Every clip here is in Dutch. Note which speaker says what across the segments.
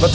Speaker 1: Wat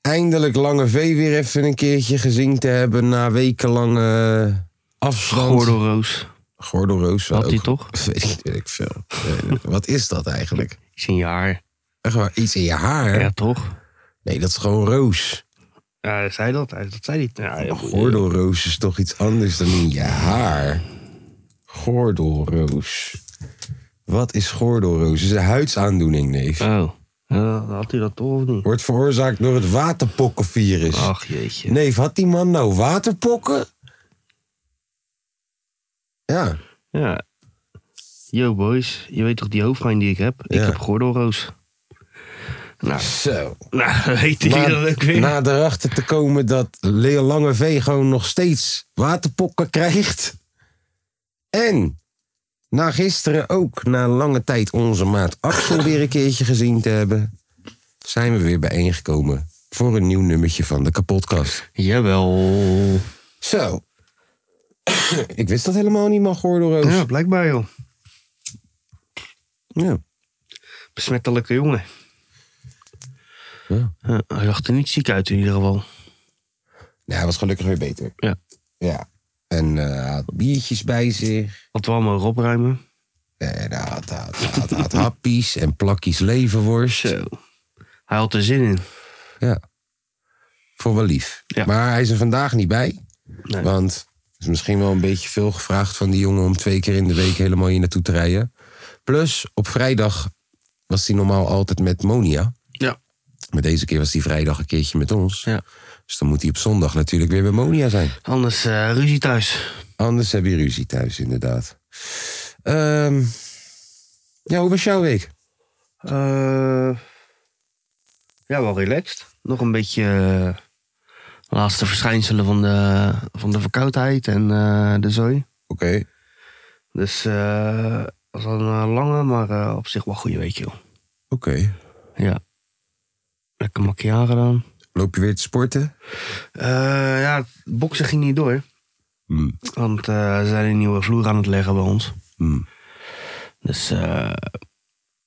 Speaker 2: eindelijk Lange V weer even een keertje gezien te hebben na wekenlange eh, afstand.
Speaker 3: Gordelroos.
Speaker 2: Gordelroos.
Speaker 3: Had
Speaker 2: ook-
Speaker 3: die toch?
Speaker 2: Weet ik, weet ik veel. Eh, wat is dat eigenlijk?
Speaker 3: Is een jaar.
Speaker 2: Echt waar, iets in je haar?
Speaker 3: Ja, toch?
Speaker 2: Nee, dat is gewoon roos.
Speaker 3: Ja, zei dat. Hij- Dat zei hij. Ja, ja, goed.
Speaker 2: Gordelroos is toch iets anders dan in je haar? Gordelroos. Wat is gordelroos? Het is een huidsaandoening, neef.
Speaker 3: Oh. Ja, had hij dat toch of niet?
Speaker 2: Wordt veroorzaakt door het waterpokkenvirus.
Speaker 3: Ach jeetje.
Speaker 2: Neef, had die man nou waterpokken? Ja,
Speaker 3: Ja. Yo boys, je weet toch die hoofdpijn die ik heb? Ik
Speaker 2: Ja.
Speaker 3: heb gordelroos. Nou,
Speaker 2: zo.
Speaker 3: nou weet hij dat ook weer.
Speaker 2: na erachter te komen dat Leo Lange V gewoon nog steeds waterpokken krijgt. En na gisteren ook na lange tijd onze maat Axel weer een keertje gezien te hebben, zijn we weer bijeengekomen voor een nieuw nummertje van de kapotkast.
Speaker 3: Jawel.
Speaker 2: Zo. Ik wist dat helemaal niet, man, Gordelroos.
Speaker 3: Ja, blijkbaar joh.
Speaker 2: ja.
Speaker 3: Besmettelijke jongen.
Speaker 2: Ja.
Speaker 3: Ja, hij zag er niet ziek uit in ieder geval.
Speaker 2: Nou, hij was gelukkig weer beter.
Speaker 3: Ja.
Speaker 2: Ja. En eh, hij had biertjes bij zich.
Speaker 3: Had wel mogen opruimen.
Speaker 2: En hij had, had, had, had happies en plakjes levenworst.
Speaker 3: Zo. Hij had er zin in.
Speaker 2: Ja. Voor wel lief.
Speaker 3: Ja.
Speaker 2: Maar hij is er vandaag niet bij.
Speaker 3: Nee.
Speaker 2: Want het is misschien wel een beetje veel gevraagd van die jongen... om twee keer in de week helemaal hier naartoe te rijden. Plus, op vrijdag was hij normaal altijd met Monia.
Speaker 3: Ja.
Speaker 2: Maar deze keer was hij vrijdag een keertje met ons.
Speaker 3: Ja.
Speaker 2: Dus dan moet hij op zondag natuurlijk weer bij Monia zijn.
Speaker 3: Anders eh, ruzie thuis.
Speaker 2: Anders heb je ruzie thuis, inderdaad. Ehm, ja, hoe was jouw week?
Speaker 3: Eh, ja, wel relaxed. Nog een beetje eh, laatste verschijnselen van de, van de verkoudheid en eh, de zooi.
Speaker 2: Oké.
Speaker 3: Dus eh was wel een lange, maar eh, op zich wel een goede week, joh.
Speaker 2: Oké.
Speaker 3: Ja. Lekker makkie aangedaan.
Speaker 2: Loop je weer te sporten?
Speaker 3: Eh, ja, het boksen ging niet door.
Speaker 2: Mm,
Speaker 3: Want eh, ze zijn een nieuwe vloer aan het leggen bij ons.
Speaker 2: mm.
Speaker 3: Dus eh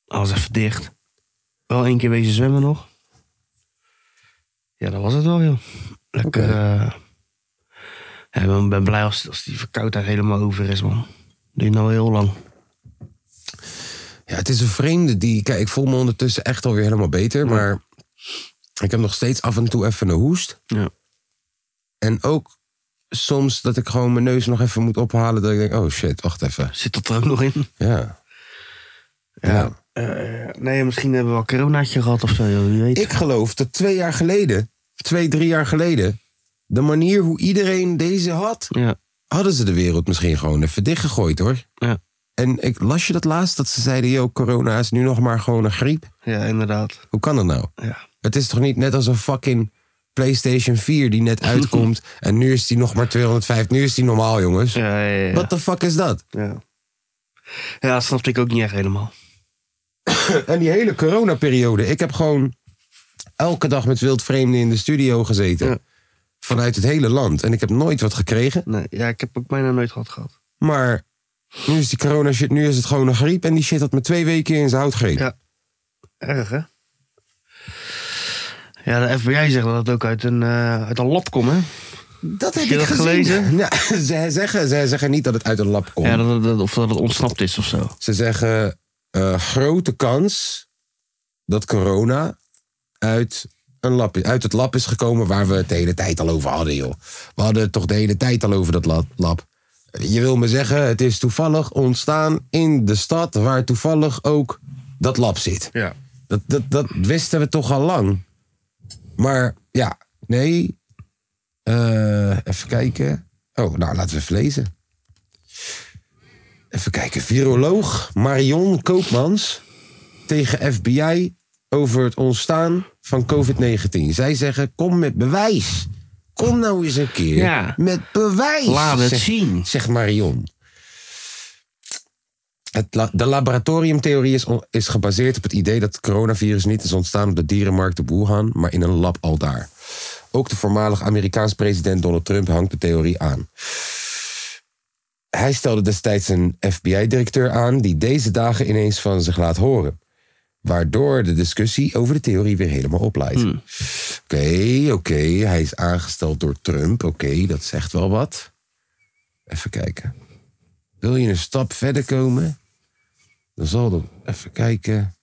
Speaker 3: alles even dicht. Wel één keer wezen zwemmen nog. Ja, dat was het wel, joh. Lekker.
Speaker 2: Oké.
Speaker 3: eh, ja, ik ben, ben blij als, als die verkoudheid helemaal over is, man. Duurt nou heel lang.
Speaker 2: Ja, het is een vreemde die... Kijk, ik voel me ondertussen echt alweer helemaal beter. Maar ik heb nog steeds af en toe even een hoest.
Speaker 3: Ja.
Speaker 2: En ook soms dat ik gewoon mijn neus nog even moet ophalen. Dat ik denk, oh shit, wacht even.
Speaker 3: Zit dat er ook nog in?
Speaker 2: Ja. Nou,
Speaker 3: Eh, nee, misschien hebben we al coronaatje gehad of zo, joh. Wie weet.
Speaker 2: Ik geloof dat twee jaar geleden, twee, drie jaar geleden... de manier hoe iedereen deze had...
Speaker 3: Ja,
Speaker 2: hadden ze de wereld misschien gewoon even dichtgegooid hoor.
Speaker 3: ja.
Speaker 2: En ik las je dat laatst dat ze zeiden: Yo, corona is nu nog maar gewoon een griep.
Speaker 3: ja inderdaad.
Speaker 2: Hoe kan dat nou?
Speaker 3: Ja.
Speaker 2: Het is toch niet net als een fucking PlayStation 4 die net uitkomt. en nu is die nog maar 205. Nu is die normaal, jongens.
Speaker 3: Ja, ja, ja, ja.
Speaker 2: What the fuck is dat?
Speaker 3: ja. Ja, dat snapte ik ook niet echt helemaal.
Speaker 2: En die hele coronaperiode. Ik heb gewoon elke dag met wildvreemden in de studio gezeten.
Speaker 3: Ja.
Speaker 2: Vanuit het hele land. En ik heb nooit wat gekregen.
Speaker 3: Nee, ja, ik heb ook bijna nooit gehad gehad.
Speaker 2: Maar nu is die corona shit, nu is het gewoon een griep. En die shit had me twee weken in zijn hout gegeten.
Speaker 3: Ja. Erg, hè? Ja, de FBI zegt dat het ook uit een, eh, uit een lab komt, hè?
Speaker 2: Dat heb
Speaker 3: Heb je
Speaker 2: ik
Speaker 3: dat
Speaker 2: gezien.
Speaker 3: gelezen?
Speaker 2: Nou, ze, zeggen, ze zeggen niet dat het uit een lab komt.
Speaker 3: Ja, dat, dat- of dat het ontsnapt is of zo.
Speaker 2: Ze zeggen eh, grote kans dat corona uit, een lab, uit het lab is gekomen waar we het de hele tijd al over hadden, joh. We hadden het toch de hele tijd al over dat la- lab. Je wil me zeggen, het is toevallig ontstaan in de stad waar toevallig ook dat lab zit.
Speaker 3: Ja.
Speaker 2: Dat, dat, dat wisten we toch al lang. Maar ja, nee. Eh, even kijken. Oh, nou laten we even lezen. Even kijken. Viroloog Marion Koopmans tegen FBI over het ontstaan van COVID-19. Zij zeggen, kom met bewijs. Kom nou eens een keer
Speaker 3: Ja.
Speaker 2: met bewijs.
Speaker 3: Laat het
Speaker 2: zegt-
Speaker 3: zien.
Speaker 2: zegt Marion. Het la- de laboratoriumtheorie is, on- is gebaseerd op het idee dat het coronavirus niet is ontstaan op de dierenmarkt op Wuhan, maar in een lab aldaar. Ook de voormalig Amerikaans president Donald Trump hangt de theorie aan. Hij stelde destijds een FBI-directeur aan die deze dagen ineens van zich laat horen. Waardoor de discussie over de theorie weer helemaal opleidt.
Speaker 3: Hmm.
Speaker 2: Oké, oké, hij is aangesteld door Trump. Oké, dat zegt wel wat. Even kijken. Wil je een stap verder komen? Dan zal er. Even kijken.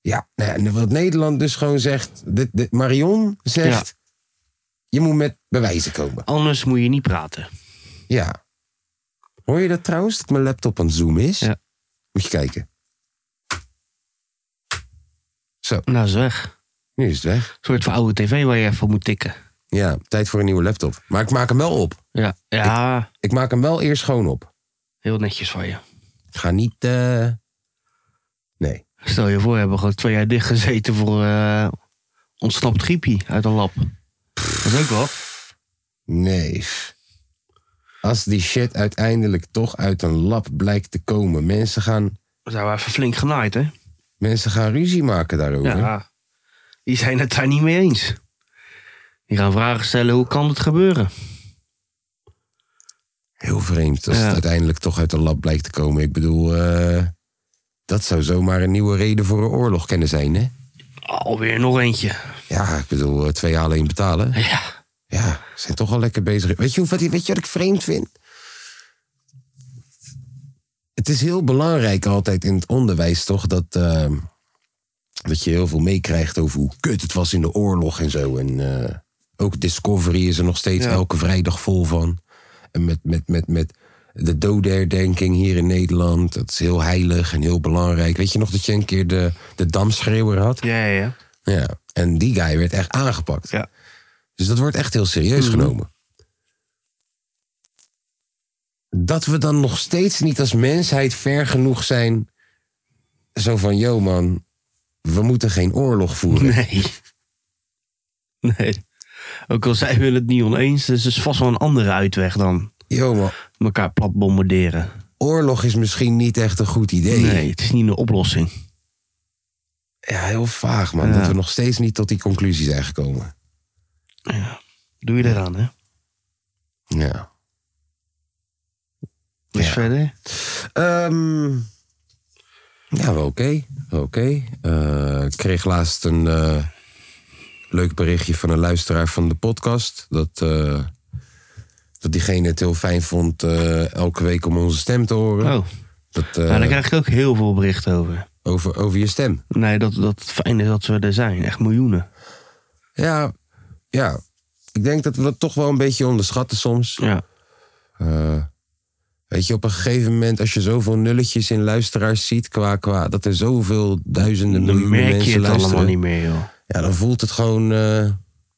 Speaker 2: Ja, nou ja, en wat Nederland dus gewoon zegt. Dit, dit- Marion zegt. Je moet met bewijzen komen.
Speaker 3: Anders moet je niet praten.
Speaker 2: Ja. Hoor je dat trouwens? Dat mijn laptop aan het zoomen is?
Speaker 3: Ja.
Speaker 2: Moet je kijken. Zo,
Speaker 3: Nou, is weg.
Speaker 2: nu is het weg.
Speaker 3: Een soort van oude tv waar je even op moet tikken.
Speaker 2: Ja, tijd voor een nieuwe laptop. Maar ik maak hem wel op.
Speaker 3: Ja. Ja,
Speaker 2: Ik maak hem wel eerst schoon op.
Speaker 3: heel netjes van je.
Speaker 2: Ik ga niet. eh, Nee.
Speaker 3: Stel je voor, we hebben gewoon twee jaar dicht gezeten voor eh, ontsnapt griepie uit een lab. Dat is ook wel.
Speaker 2: Nee. Als die shit uiteindelijk toch uit een lab blijkt te komen, mensen gaan,
Speaker 3: We zijn wel even flink genaaid, hè?
Speaker 2: mensen gaan ruzie maken daarover.
Speaker 3: Ja. Die zijn het daar niet mee eens. Die gaan vragen stellen, hoe kan dit gebeuren?
Speaker 2: Heel vreemd als
Speaker 3: Ja.
Speaker 2: het uiteindelijk toch uit een lab blijkt te komen. Ik bedoel, eh, dat zou zomaar een nieuwe reden voor een oorlog kunnen zijn, hè?
Speaker 3: Alweer nog eentje.
Speaker 2: Ja, ik bedoel, eh, twee jaar alleen betalen.
Speaker 3: Ja.
Speaker 2: Ja, ze zijn toch al lekker bezig. Weet je, hoe- wat, weet je wat ik vreemd vind? Het is heel belangrijk altijd in het onderwijs, toch? Dat, eh, dat je heel veel meekrijgt over hoe kut het was in de oorlog en zo. En eh, ook Discovery is er nog steeds
Speaker 3: Ja.
Speaker 2: elke vrijdag vol van. En met, met, met, met de doodherdenking hier in Nederland. Dat is heel heilig en heel belangrijk. Weet je nog dat je een keer de, de damschreeuwer had?
Speaker 3: Ja, ja, ja.
Speaker 2: Ja, en die guy werd echt aangepakt.
Speaker 3: Ja. Mhm.
Speaker 2: Dus dat wordt echt heel serieus genomen. Dat we dan nog steeds niet als mensheid ver genoeg zijn. Zo van, yo man, we moeten geen oorlog voeren.
Speaker 3: Nee. Nee. Ook al zijn we het niet oneens, dus er is vast wel een andere uitweg dan
Speaker 2: Yo man,
Speaker 3: elkaar plat bombarderen.
Speaker 2: oorlog is misschien niet echt een goed idee.
Speaker 3: Nee, het is niet een oplossing.
Speaker 2: Ja, heel vaag man,
Speaker 3: Ja.
Speaker 2: dat we nog steeds niet tot die conclusie zijn gekomen.
Speaker 3: Doe je eraan, hè?
Speaker 2: Ja.
Speaker 3: Dus
Speaker 2: Ja.
Speaker 3: verder.
Speaker 2: Ehm, ja, wel oké. wel Oké. Eh, ik kreeg laatst een eh, leuk berichtje van een luisteraar van de podcast. Dat, eh, dat diegene het heel fijn vond eh, elke week om onze stem te horen.
Speaker 3: Oh,
Speaker 2: Dat, eh,
Speaker 3: nou, daar krijg ik ook heel veel berichten over.
Speaker 2: over, over je stem.
Speaker 3: Nee, dat, dat het fijn is dat we er zijn. Echt miljoenen.
Speaker 2: Ja, ja, ik denk dat we dat toch wel een beetje onderschatten soms.
Speaker 3: Ja.
Speaker 2: Eh, weet je, op een gegeven moment, als je zoveel nulletjes in luisteraars ziet, qua, qua dat er zoveel duizenden
Speaker 3: Dan
Speaker 2: miljoenen
Speaker 3: merk
Speaker 2: mensen
Speaker 3: je het
Speaker 2: luisteren.
Speaker 3: allemaal niet meer, joh.
Speaker 2: Ja, dan voelt het gewoon eh,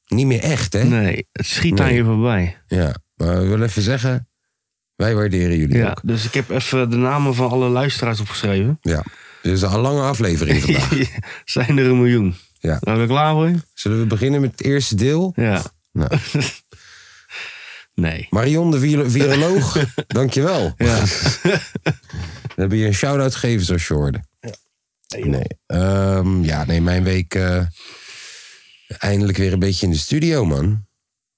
Speaker 2: niet meer echt, hè?
Speaker 3: Nee, het schiet aan je voorbij.
Speaker 2: Ja, maar ik wil even zeggen, wij waarderen jullie
Speaker 3: Ja.
Speaker 2: ook.
Speaker 3: Dus ik heb even de namen van alle luisteraars opgeschreven.
Speaker 2: Ja, dit is een lange aflevering vandaag.
Speaker 3: zijn er een miljoen.
Speaker 2: Ja.
Speaker 3: Nou, ben ik klaar voor?
Speaker 2: Zullen we beginnen met het eerste deel?
Speaker 3: Ja.
Speaker 2: Nou.
Speaker 3: nee.
Speaker 2: Marion de viro- viroloog, dankjewel.
Speaker 3: Ja.
Speaker 2: Dan heb je een shout-out gegeven, zoals je hoorde. Nee. Ehm, ja, nee, mijn week eh, eindelijk weer een beetje in de studio, man.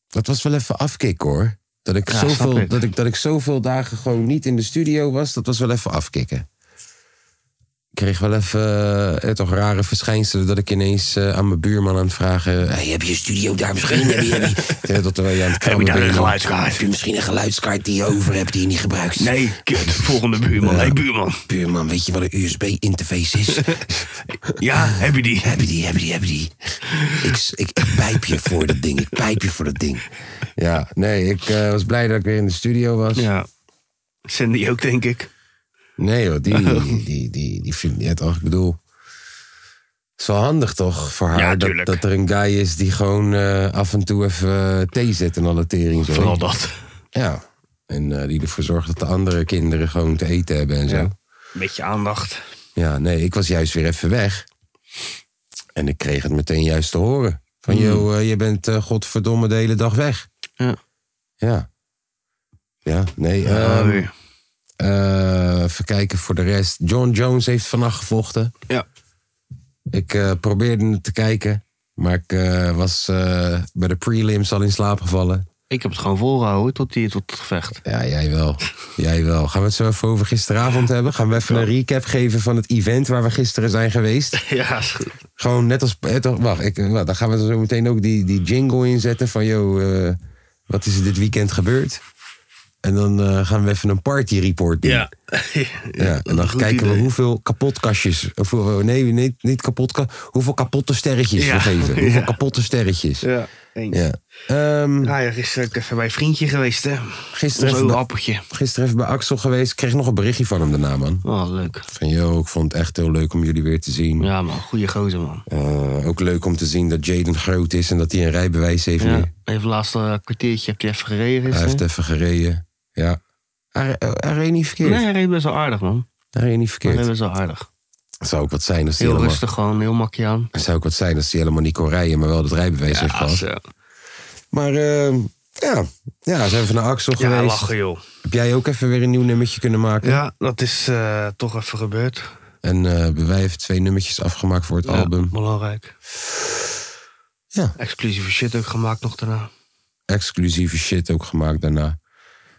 Speaker 2: Dat was wel even afkick, hoor. Dat ik,
Speaker 3: Ja,
Speaker 2: zoveel,
Speaker 3: snap ik.
Speaker 2: Dat, ik, dat ik zoveel dagen gewoon niet in de studio was, dat was wel even afkicken. Ik kreeg wel even eh, toch rare verschijnselen dat ik ineens eh, aan mijn buurman aan het vragen... Hey, heb je een studio daar misschien? heb je, heb je, Ja, dat terwijl je aan het krabben bent. Heb
Speaker 3: geluidskaart?
Speaker 2: je misschien een geluidskaart die je over hebt die je niet gebruikt?
Speaker 3: Nee, kut. Volgende buurman. Hé, buurman.
Speaker 2: Buurman, weet je wat een USB-interface is?
Speaker 3: Ja, heb je die?
Speaker 2: Heb je die, heb je die, heb je die. Ik, ik, ik pijp je voor dat ding, ik pijp je voor dat ding. Ja, nee, ik eh, was blij dat ik weer in de studio was.
Speaker 3: Ja. Cindy ook, denk ik.
Speaker 2: Nee joh, die, die, die, die, die vind ik niet toch, ik bedoel... Het is wel handig toch voor haar
Speaker 3: Ja,
Speaker 2: dat,
Speaker 3: tuurlijk.
Speaker 2: dat er een guy is die gewoon eh, af en toe even eh, thee zet en alle tering zo.
Speaker 3: Vooral dat.
Speaker 2: Ja, en eh, die ervoor zorgt dat de andere kinderen gewoon te eten hebben en zo.
Speaker 3: Beetje aandacht.
Speaker 2: Ja, nee, ik was juist weer even weg. En ik kreeg het meteen juist te horen. Van, joh, eh, je bent eh, godverdomme de hele dag weg.
Speaker 3: Hmm. Ja.
Speaker 2: Ja. Ja, nee.
Speaker 3: Ja,
Speaker 2: ehm,
Speaker 3: weer.
Speaker 2: eh, even kijken voor de rest. John Jones heeft vannacht gevochten.
Speaker 3: Ja.
Speaker 2: Ik eh, probeerde het te kijken. Maar ik eh, was eh, bij de prelims al in slaap gevallen.
Speaker 3: Ik heb het gewoon volgehouden tot, die, tot het gevecht.
Speaker 2: Ja, jij wel. jij wel. Gaan we het zo even over gisteravond hebben? Gaan we even een recap geven van het event waar we gisteren zijn geweest?
Speaker 3: Ja, is goed.
Speaker 2: Gewoon net als. eh, toch, wacht, ik, wacht, dan gaan we zo meteen ook die, die jingle inzetten van. Yo, eh, wat is er dit weekend gebeurd? En dan eh, gaan we even een party report doen.
Speaker 3: Ja.
Speaker 2: Ja, en dan
Speaker 3: Goed
Speaker 2: kijken we
Speaker 3: idee.
Speaker 2: hoeveel kapotkastjes. Of, eh, nee, niet, niet kapotka. Hoeveel kapotte sterretjes
Speaker 3: Ja.
Speaker 2: we geven. Hoeveel
Speaker 3: Ja.
Speaker 2: kapotte sterretjes. Ja.
Speaker 3: Ja, eens. Ja. Nou
Speaker 2: Ehm,
Speaker 3: ja, gisteren ook even bij een vriendje geweest, hè.
Speaker 2: gisteren,
Speaker 3: Ons
Speaker 2: even bij,
Speaker 3: appeltje.
Speaker 2: gisteren even bij Axel geweest. Ik kreeg nog een berichtje van hem daarna, man.
Speaker 3: Oh, leuk.
Speaker 2: Van, yo, ik vond het echt heel leuk om jullie weer te zien.
Speaker 3: Ja, man. Goeie gozer, man.
Speaker 2: Eh, ook leuk om te zien dat Jaden groot is en dat hij een rijbewijs heeft nu.
Speaker 3: Ja. Even laatste eh, kwartiertje heb je even gereden.
Speaker 2: Hij
Speaker 3: gisteren.
Speaker 2: heeft even gereden. Ja. Hij, eh, hij reed niet verkeerd.
Speaker 3: Nee, hij reed best wel aardig, man.
Speaker 2: Hij reed niet
Speaker 3: Hij reed
Speaker 2: verkeerd.
Speaker 3: best wel aardig.
Speaker 2: Zou ook wat zijn als hij
Speaker 3: Heel
Speaker 2: helemaal,
Speaker 3: rustig gewoon, heel makkie aan.
Speaker 2: zou ook wat zijn als hij helemaal niet kon rijden, maar wel dat rijbewijs heeft gehad.
Speaker 3: zo.
Speaker 2: Maar ehm, ja. ja, zijn we naar Axel
Speaker 3: ja
Speaker 2: geweest.
Speaker 3: lachen, joh.
Speaker 2: Heb jij ook even weer een nieuw nummertje kunnen maken?
Speaker 3: Ja, dat is eh, toch even gebeurd.
Speaker 2: En eh hebben wij even twee nummertjes afgemaakt voor het album.
Speaker 3: Belangrijk.
Speaker 2: Ja.
Speaker 3: Exclusieve shit ook gemaakt nog daarna.
Speaker 2: Exclusieve shit ook gemaakt daarna.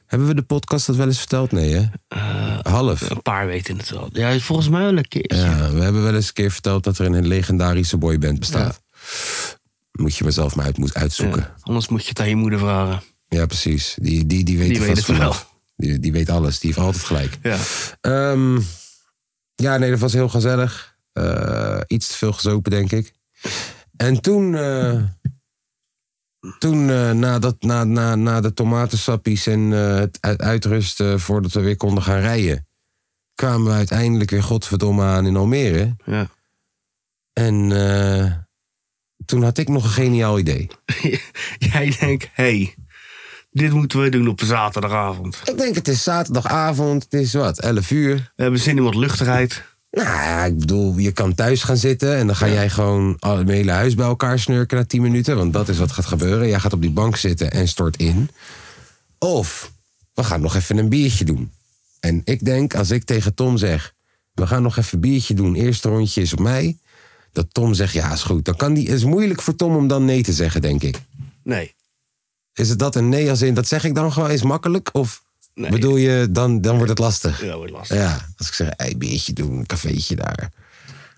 Speaker 2: Hebben we de podcast dat wel eens verteld? Nee, hè?
Speaker 3: Eh,
Speaker 2: Half.
Speaker 3: Een paar weten het wel. Ja, volgens mij wel een keer.
Speaker 2: Ja, we hebben wel eens een keer verteld dat er een legendarische boyband bestaat. Moet je mezelf maar uit moet uitzoeken.
Speaker 3: Ja, Anders moet je het aan je moeder vragen.
Speaker 2: Ja, precies. Die, die, die weet,
Speaker 3: Die
Speaker 2: er
Speaker 3: weet
Speaker 2: vast
Speaker 3: het wel.
Speaker 2: vanaf. Die, die weet alles. Die heeft altijd gelijk.
Speaker 3: Ja.
Speaker 2: Ehm, ja, nee, dat was heel gezellig. Eh, iets te veel gezopen, denk ik. En toen, eh, toen eh, na, dat, na, na, na de tomatensappies en eh, het u- uitrusten voordat we weer konden gaan rijden, kwamen we uiteindelijk weer godverdomme aan in Almere.
Speaker 3: Ja.
Speaker 2: En eh, toen had ik nog een geniaal idee.
Speaker 3: Jij denkt, hé, hey, dit moeten we doen op een zaterdagavond.
Speaker 2: Ik denk, het is zaterdagavond, het is wat, 11 uur.
Speaker 3: We hebben zin in wat luchtigheid.
Speaker 2: Nou ja, ik bedoel, je kan thuis gaan zitten en dan ga jij gewoon al- het hele huis bij elkaar snurken na 10 minuten. Want dat is wat gaat gebeuren. Jij gaat op die bank zitten en stort in. Of we gaan nog even een biertje doen. En ik denk, als ik tegen Tom zeg, we gaan nog even een biertje doen. Eerste rondje is op mij. Dat Tom zegt, ja, is goed. Dan kan die, is moeilijk voor Tom om dan nee te zeggen, denk ik.
Speaker 3: Nee.
Speaker 2: Is het dat een nee als in, dat zeg ik dan gewoon, is makkelijk? Of
Speaker 3: Nee.
Speaker 2: bedoel je, dan, dan wordt het lastig?
Speaker 3: Ja, wordt lastig.
Speaker 2: Ja, als ik zeg, ei, biertje doen, een cafeetje daar.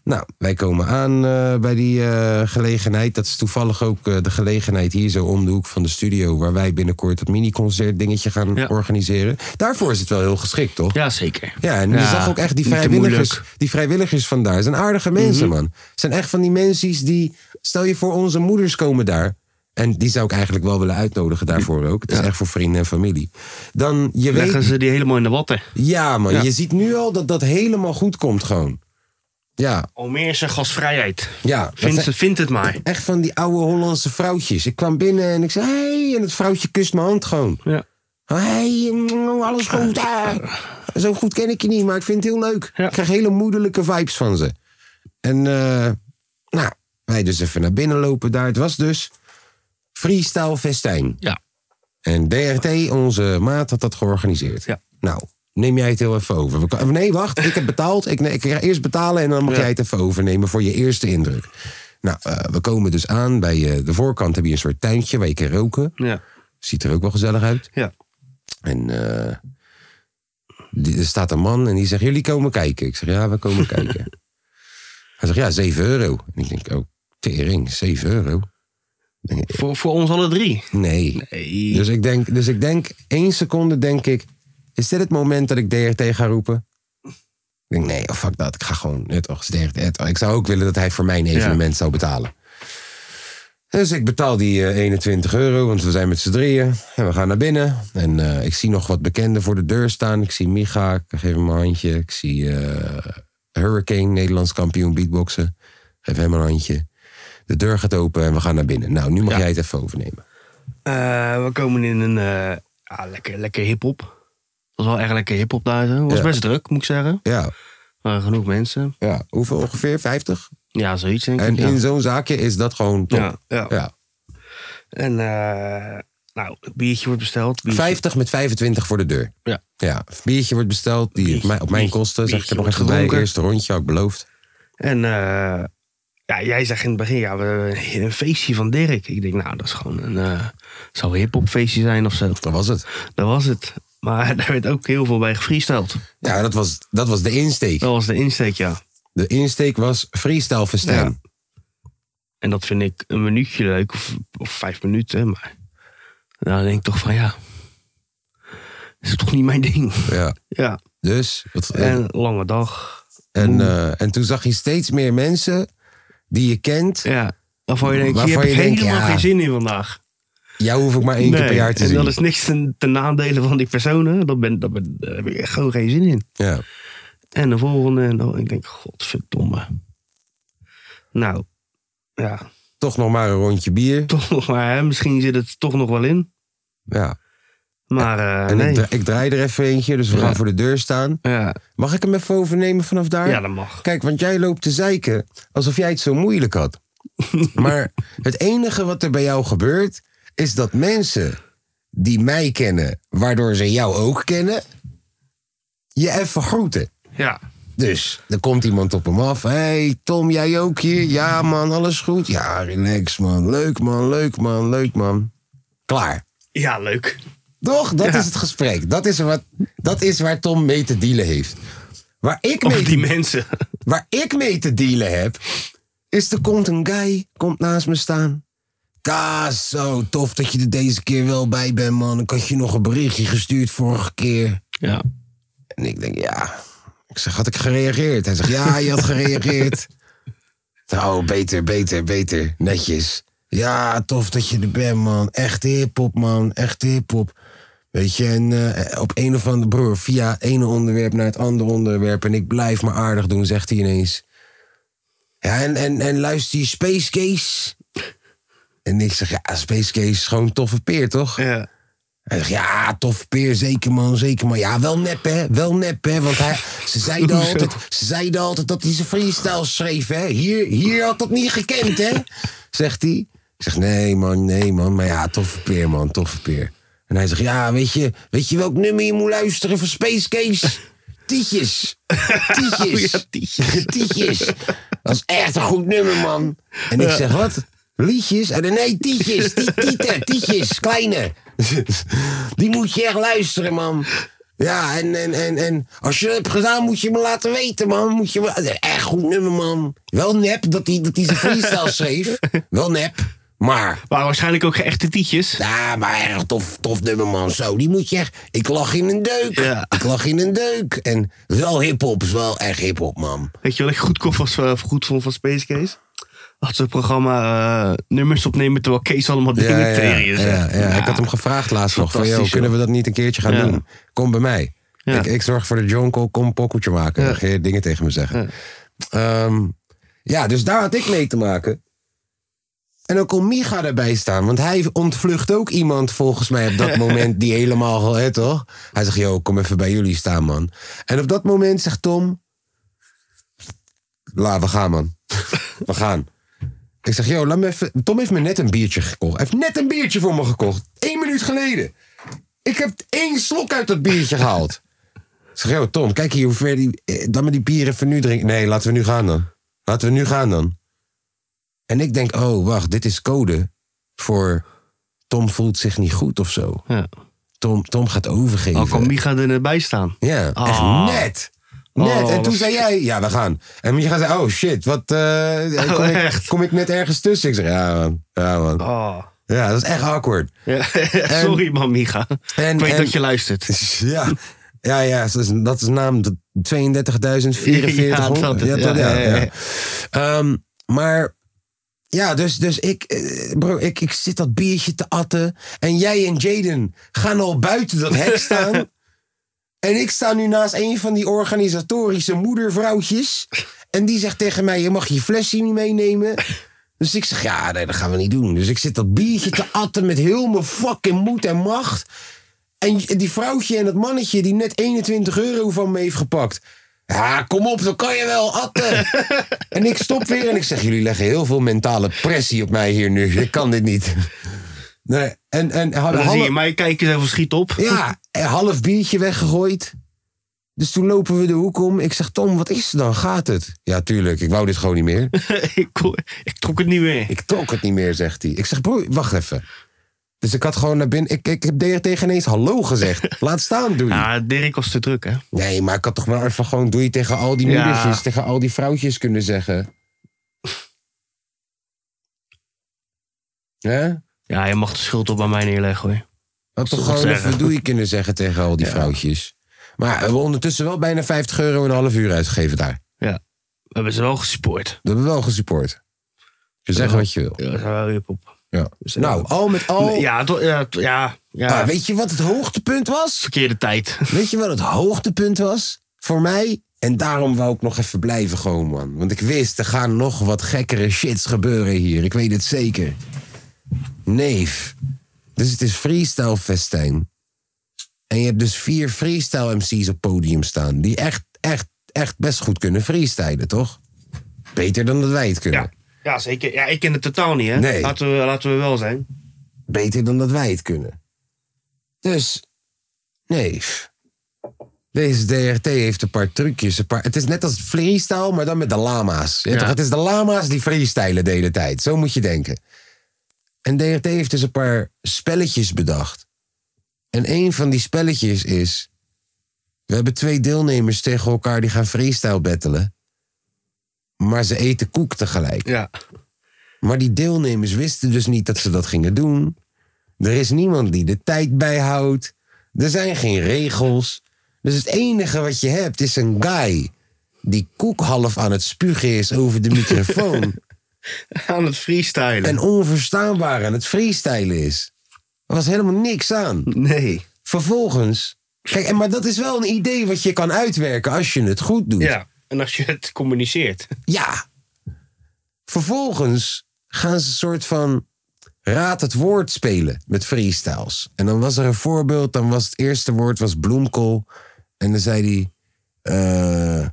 Speaker 2: Nou, wij komen aan eh, bij die eh, gelegenheid. Dat is toevallig ook eh, de gelegenheid hier zo om de hoek van de studio... waar wij binnenkort dat mini-concert dingetje gaan
Speaker 3: Ja.
Speaker 2: organiseren. Daarvoor is het wel heel geschikt, toch?
Speaker 3: Ja, zeker.
Speaker 2: Ja, en je
Speaker 3: Ja,
Speaker 2: zag ook echt die
Speaker 3: niet te
Speaker 2: vrijwilligers,
Speaker 3: moeilijk. Mhm.
Speaker 2: die vrijwilligers van daar. zijn aardige mensen, man. zijn echt van die mensen die... Stel je voor, onze moeders komen daar. En die zou ik eigenlijk wel willen uitnodigen daarvoor ook. Het is echt voor vrienden en familie. Dan, je weet...
Speaker 3: Leggen ze die helemaal in de watten.
Speaker 2: Ja, man.
Speaker 3: Ja.
Speaker 2: Je ziet nu al dat dat helemaal goed komt gewoon. Ja,
Speaker 3: Almeerse gasvrijheid.
Speaker 2: ja. Dat
Speaker 3: Vindt,
Speaker 2: zijn
Speaker 3: ze, vindt het maar.
Speaker 2: Echt van die oude Hollandse vrouwtjes. Ik kwam binnen en ik zei... Hey, en het vrouwtje kust mijn hand gewoon.
Speaker 3: Ja.
Speaker 2: Hey, mm, alles goed. Ah. Zo goed ken ik je niet, maar ik vind het heel leuk.
Speaker 3: Ja.
Speaker 2: Ik krijg hele moederlijke vibes van ze. En eh, nou, wij dus even naar binnen lopen daar. Het was dus Freestyle Festijn.
Speaker 3: Ja.
Speaker 2: En DRT, onze maat, had dat georganiseerd.
Speaker 3: Ja.
Speaker 2: Nou, neem jij het heel even over. We kan- nee, wacht, ik heb betaald. Ik, nee, ik ga eerst betalen en dan mag jij het even overnemen voor je eerste indruk. Nou, eh, we komen dus aan. Bij eh, de voorkant heb je een soort tuintje waar je kan roken.
Speaker 3: Ja.
Speaker 2: Ziet er ook wel gezellig uit.
Speaker 3: Ja.
Speaker 2: En eh, die- er staat een man en die zegt: Jullie komen kijken. Ik zeg: Ja, we komen kijken. Hij zegt: Ja, 7 euro. En ik denk: Oh, tering, 7 euro.
Speaker 3: Voor, voor ons alle drie.
Speaker 2: Nee.
Speaker 3: Hey.
Speaker 2: Dus ik, denk, dus ik denk, één seconde denk ik: Is dit het moment dat ik DRT ga roepen? Ik denk: Nee, oh, fuck dat. Ik ga gewoon. Het, toch, het is DRT, het, toch. Oh, ik zou ook willen dat hij voor mijn evenement zou betalen. Dus ik betaal die eh, 21 euro, want we zijn met z'n drieën. En we gaan naar binnen. En eh, ik zie nog wat bekenden voor de deur staan. Ik zie Micha, ik geef hem een handje. Ik zie eh, Hurricane, Nederlands kampioen beatboxen. Geef hem een handje. De deur gaat open en we gaan naar binnen. Nou, nu mag jij het even overnemen.
Speaker 3: Eh, we komen in een eh, ah, lekker, lekker hip-hop. Dat was wel echt lekker hip-hop daar. Het was
Speaker 2: Ja.
Speaker 3: best druk, moet ik zeggen.
Speaker 2: Ja,
Speaker 3: Er waren genoeg mensen.
Speaker 2: ja. hoeveel ongeveer? 50?
Speaker 3: Ja, zoiets denk ik.
Speaker 2: En
Speaker 3: ja.
Speaker 2: in zo'n zaakje is dat gewoon top.
Speaker 3: Ja, ja.
Speaker 2: Ja.
Speaker 3: En eh, nou, het biertje wordt besteld. biertje-
Speaker 2: 50 met 25 voor de deur.
Speaker 3: Ja.
Speaker 2: Ja, biertje wordt besteld, die
Speaker 3: Biertje,
Speaker 2: op mijn, op mijn
Speaker 3: biertje,
Speaker 2: kosten. Zeg ik
Speaker 3: biertje
Speaker 2: er nog
Speaker 3: wordt
Speaker 2: even bij,
Speaker 3: gedronken.
Speaker 2: eerste rondje, had ik beloofd.
Speaker 3: En eh, ja, jij zegt in het begin, ja, we hebben een feestje van Dirk. Ik denk, nou, dat is gewoon een... eh zou een hip-hop feestje zijn of zo.
Speaker 2: Dat was het.
Speaker 3: Dat was het. Maar daar werd ook heel veel bij gefreestyled.
Speaker 2: Ja, dat was, dat was de insteek.
Speaker 3: Dat was de insteek, ja.
Speaker 2: De insteek was freestyle verstaan.
Speaker 3: En dat vind ik een minuutje leuk, of, of vijf minuten. Maar dan denk ik toch van, ja, is toch niet mijn ding.
Speaker 2: Ja.
Speaker 3: Ja,
Speaker 2: Dus, wat, en,
Speaker 3: en lange dag.
Speaker 2: en, eh, en toen zag je steeds meer mensen die je kent.
Speaker 3: Ja, waarvan je denkt, hier
Speaker 2: Waarvan
Speaker 3: heb ik
Speaker 2: je denkt,
Speaker 3: helemaal
Speaker 2: ja.
Speaker 3: geen zin in vandaag.
Speaker 2: Jou hoef ik maar één keer
Speaker 3: Nee,
Speaker 2: per jaar te
Speaker 3: en
Speaker 2: zien.
Speaker 3: dat is niks ten, ten nadele van die personen. Dat ben, dat ben, daar heb ik echt gewoon geen zin in.
Speaker 2: Ja.
Speaker 3: En de volgende, en dan, ik denk, godverdomme. Nou, ja,
Speaker 2: Toch nog maar een rondje bier.
Speaker 3: toch nog maar, hè, misschien zit het toch nog wel in.
Speaker 2: Ja.
Speaker 3: Maar eh,
Speaker 2: En
Speaker 3: nee.
Speaker 2: ik, dra- ik draai er even eentje, dus we
Speaker 3: Ja.
Speaker 2: gaan voor de deur staan.
Speaker 3: Ja,
Speaker 2: Mag ik hem even overnemen vanaf daar?
Speaker 3: ja, dat mag.
Speaker 2: Kijk, want jij loopt te zeiken alsof jij het zo moeilijk had. maar het enige wat er bij jou gebeurt, is dat mensen die mij kennen, waardoor ze jou ook kennen, je even groeten.
Speaker 3: Ja,
Speaker 2: Dus er komt iemand op hem af. hey, Tom, jij ook hier? Ja, man, alles goed? Ja, relax, man. Leuk, man, leuk, man, leuk, man. Klaar.
Speaker 3: ja leuk.
Speaker 2: Toch? Dat
Speaker 3: Ja.
Speaker 2: is het gesprek. Dat is, wat, dat is waar Tom mee te dealen heeft. Waar ik
Speaker 3: Of
Speaker 2: mee
Speaker 3: die mensen.
Speaker 2: Waar ik mee te dealen heb, is er komt een guy, komt naast me staan. Kaas, zo tof dat je er deze keer wel bij bent, man. Ik had je nog een berichtje gestuurd vorige keer.
Speaker 3: Ja.
Speaker 2: En ik denk, ja. Ik zeg, had ik gereageerd? Hij zegt, ja, je had gereageerd. Nou, beter, beter, beter. Netjes. Ja, tof dat je er bent, man. Echt hip-hop, man. Echt hip-hop. Weet je, en eh, op een of andere broer, via ene onderwerp naar het andere onderwerp. En ik blijf maar aardig doen, zegt hij ineens. Ja, en, en, en luister je Space Case? En ik zeg, ja, Space Case is gewoon een toffe peer, toch?
Speaker 3: Ja.
Speaker 2: Hij zegt, ja, tof peer, zeker man, zeker man. Ja, wel nep hè, wel nep hè. Want hij, ze, zeiden
Speaker 3: Hoezo?
Speaker 2: altijd, ze zeiden altijd dat hij zijn freestyle schreef hè. Hier, hier had dat niet gekend hè, zegt hij. Ik zeg, nee man, nee man. Maar ja, toffe peer man, toffe peer. En hij zegt, ja, weet je, weet je welk nummer je moet luisteren voor Space Case? Tietjes. Tietjes.
Speaker 3: Oh ja, Tietjes.
Speaker 2: Tietjes. Dat is echt een goed nummer, man. En ik zeg, wat? Liedjes? En dan, nee, tietjes. Tie- Tieten, tietjes, kleine. Die moet je echt luisteren, man. Ja, en, en, en, en als je dat hebt gedaan, moet je me laten weten, man. Moet je me... Echt goed nummer, man. Wel nep dat hij dat hij zijn freestyle schreef. Wel nep, maar...
Speaker 3: Maar waarschijnlijk ook geen echte tietjes.
Speaker 2: Ja, maar erg tof, tof nummer, man. Zo, die moet je echt... Ik lag in een deuk.
Speaker 3: Ja.
Speaker 2: Ik lag in een deuk. En wel hip-hop is wel echt hip-hop, man.
Speaker 3: Weet je wat ik goedkoop was, eh, goed vond van Space Case? Had ze het programma eh, nummers opnemen terwijl Kees allemaal dingen tegen je zegt.
Speaker 2: ja. Ik had hem gevraagd laatst nog. Van,
Speaker 3: Fantastisch,
Speaker 2: joh, kunnen we
Speaker 3: joh.
Speaker 2: dat niet een keertje gaan
Speaker 3: Ja.
Speaker 2: doen? Kom bij mij.
Speaker 3: Ja.
Speaker 2: Ik, ik zorg voor de jonkel, kom een pokkeltje maken. Dan ga je dingen tegen me zeggen. Ja. ja, dus daar had ik mee te maken. En dan kon Micha erbij staan. Want hij ontvlucht ook iemand volgens mij op dat moment. Die helemaal, hè, toch? Hij zegt, joh, kom even bij jullie staan, man. En op dat moment zegt Tom... La, we gaan, man. We gaan. Ik zeg, joh, laat me even... Tom heeft me net een biertje gekocht. Hij heeft net een biertje voor me gekocht. Eén minuut geleden. Ik heb één slok uit dat biertje gehaald. Ik zeg, joh, Tom, kijk hier hoe ver die... eh, Laat me die bier even nu drinken. Nee, laten we nu gaan dan. Laten we nu gaan dan. En ik denk, oh, wacht, dit is code voor... Tom voelt zich niet goed of zo.
Speaker 3: Ja.
Speaker 2: Tom, Tom gaat overgeven.
Speaker 3: Al kan Micha er net bij staan.
Speaker 2: Ja,
Speaker 3: Oh, Ah.
Speaker 2: echt net. Net.
Speaker 3: Oh,
Speaker 2: en toen
Speaker 3: wat-
Speaker 2: zei jij, ja, we gaan. En je gaat zeggen, oh shit, wat. eh, kom,
Speaker 3: Oh,
Speaker 2: ik,
Speaker 3: echt?
Speaker 2: kom ik net ergens tussen? Ik zeg, ja, man. Ja, man.
Speaker 3: Oh.
Speaker 2: Ja, dat is echt awkward.
Speaker 3: Ja, sorry man, Micha.
Speaker 2: en-
Speaker 3: ik weet
Speaker 2: en-
Speaker 3: dat je luistert.
Speaker 2: Ja, ja, ja dat, is, dat is naam 32.044.
Speaker 3: Ja, dat is-
Speaker 2: ja,
Speaker 3: ja,
Speaker 2: ja,
Speaker 3: ja, ja.
Speaker 2: ja. Ehm, maar ja, dus, dus ik, eh, bro, ik, ik zit dat biertje te atten. En jij en Jaden gaan al buiten dat hek staan. en ik sta nu naast een van die organisatorische moedervrouwtjes. En die zegt tegen mij: Je mag je flesje niet meenemen. Dus ik zeg: Ja, nee, dat gaan we niet doen. Dus ik zit dat biertje te atten met heel mijn fucking moed en macht. En die vrouwtje en dat mannetje die net 21 euro van me heeft gepakt. Ja, kom op, zo kan je wel, atten. en ik stop weer en ik zeg, jullie leggen heel veel mentale pressie op mij hier nu. Ik kan dit niet. Nee, en, en
Speaker 3: En
Speaker 2: hadden
Speaker 3: dan zie je mij kijken even schiet op.
Speaker 2: ja, een half biertje weggegooid. Dus toen lopen we de hoek om. Ik zeg, Tom, wat is er dan? Gaat het? Ja, tuurlijk. Ik wou dit gewoon niet meer.
Speaker 3: ik, kon- ik trok het niet meer.
Speaker 2: Ik trok het niet meer, zegt hij. Ik zeg, broer, wacht even. Dus ik had gewoon naar binnen... Ik, ik heb tegen tegen ineens hallo gezegd. Laat staan, doei.
Speaker 3: Ja, Dirk was te druk, hè?
Speaker 2: Nee, maar ik had toch maar even gewoon doei tegen al die
Speaker 3: Ja.
Speaker 2: moedertjes... tegen al die vrouwtjes kunnen zeggen. Hè?
Speaker 3: Ja, je mag de schuld op bij mij neerleggen, hoor.
Speaker 2: Had toch
Speaker 3: Toch
Speaker 2: gewoon
Speaker 3: zeggen.
Speaker 2: even doei kunnen zeggen tegen al die vrouwtjes. Maar eh, we hebben ondertussen wel bijna 50 euro en een half uur uitgegeven daar.
Speaker 3: We hebben ze wel gespoord.
Speaker 2: We hebben wel gesupport. Je zeggen wat je wil.
Speaker 3: Ja, ze waren wel weer op.
Speaker 2: Ja. Nou, al met al.
Speaker 3: Ja, toch- ja, toch- ja, ja.
Speaker 2: Ah, weet je wat het hoogtepunt was?
Speaker 3: verkeerde tijd.
Speaker 2: Weet je wat het hoogtepunt was? Voor mij. En daarom wou ik nog even blijven gewoon, man. Want ik wist, er gaan nog wat gekkere shits gebeuren hier. Ik weet het zeker. Neef. Dus het is freestyle festijn. En je hebt dus vier freestyle MC's op podium staan. Die echt, echt, echt best goed kunnen freestylen, toch? Beter dan dat wij het kunnen.
Speaker 3: Ja. ja, zeker. Ja, ik ken het totaal niet, hè?
Speaker 2: Nee.
Speaker 3: Laten, we, laten we wel zijn.
Speaker 2: beter dan dat wij het kunnen. Dus, nee. Deze DRT heeft een paar trucjes. Een paar, het is net als freestyle, maar dan met de lama's. Je weet
Speaker 3: Ja.
Speaker 2: toch, het is de lama's die freestylen de hele tijd. Zo moet je denken. En DRT heeft dus een paar spelletjes bedacht. En een van die spelletjes is... We hebben twee deelnemers tegen elkaar die gaan freestyle battelen. Maar ze eten koek tegelijk.
Speaker 3: Ja.
Speaker 2: Maar die deelnemers wisten dus niet dat ze dat gingen doen. Er is niemand die de tijd bijhoudt. Er zijn geen regels. Dus het enige wat je hebt is een guy die koek half aan het spugen is over de microfoon.
Speaker 3: Aan het freestylen.
Speaker 2: en onverstaanbaar aan het freestylen is. Er was helemaal niks aan.
Speaker 3: Nee.
Speaker 2: Vervolgens. Kijk, en maar dat is wel een idee wat je kan uitwerken als je het goed doet.
Speaker 3: Ja. En als je het communiceert.
Speaker 2: Ja. Vervolgens gaan ze een soort van raad het woord spelen met freestyles. En dan was er een voorbeeld, dan was het eerste woord was bloemkool. En dan zei hij, eh,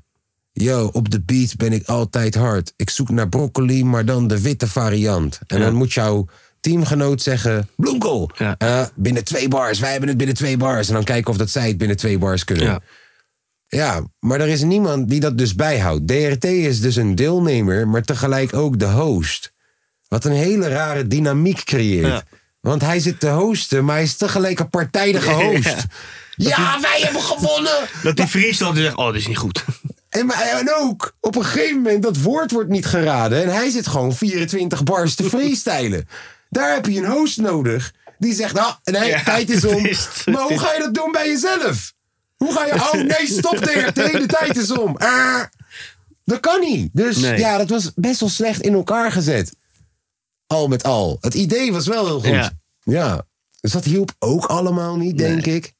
Speaker 2: yo, op de beat ben ik altijd hard. Ik zoek naar broccoli, maar dan de witte variant. En dan moet jouw teamgenoot zeggen, bloemkool.
Speaker 3: Ja.
Speaker 2: Eh, binnen twee bars, wij hebben het binnen twee bars. En dan kijken of dat zij het binnen twee bars kunnen.
Speaker 3: Ja.
Speaker 2: Ja, maar er is niemand die dat dus bijhoudt. DRT is dus een deelnemer, maar tegelijk ook de host. Wat een hele rare dynamiek creëert.
Speaker 3: Ja.
Speaker 2: Want hij zit te hosten, maar hij is tegelijk een partijdige host. Ja, wij hebben gewonnen!
Speaker 3: Dat die freestyle die zegt, oh, dit is niet goed.
Speaker 2: En, maar- en ook, op een gegeven moment, dat woord wordt niet geraden. En hij zit gewoon 24 bars te freestylen. Daar heb je een host nodig. Die zegt, ah, nee,
Speaker 3: Ja,
Speaker 2: tijd is om.
Speaker 3: dat is het.
Speaker 2: maar hoe ga je dat doen bij jezelf? Hoe ga je, oh nee, stop DRT, de tijd is om. Ah, dat kan niet. Dus
Speaker 3: Nee.
Speaker 2: ja, dat was best wel slecht in elkaar gezet. Al met al. Het idee was wel heel goed. Ja.
Speaker 3: Ja.
Speaker 2: Dus dat hielp ook allemaal niet, denk ik.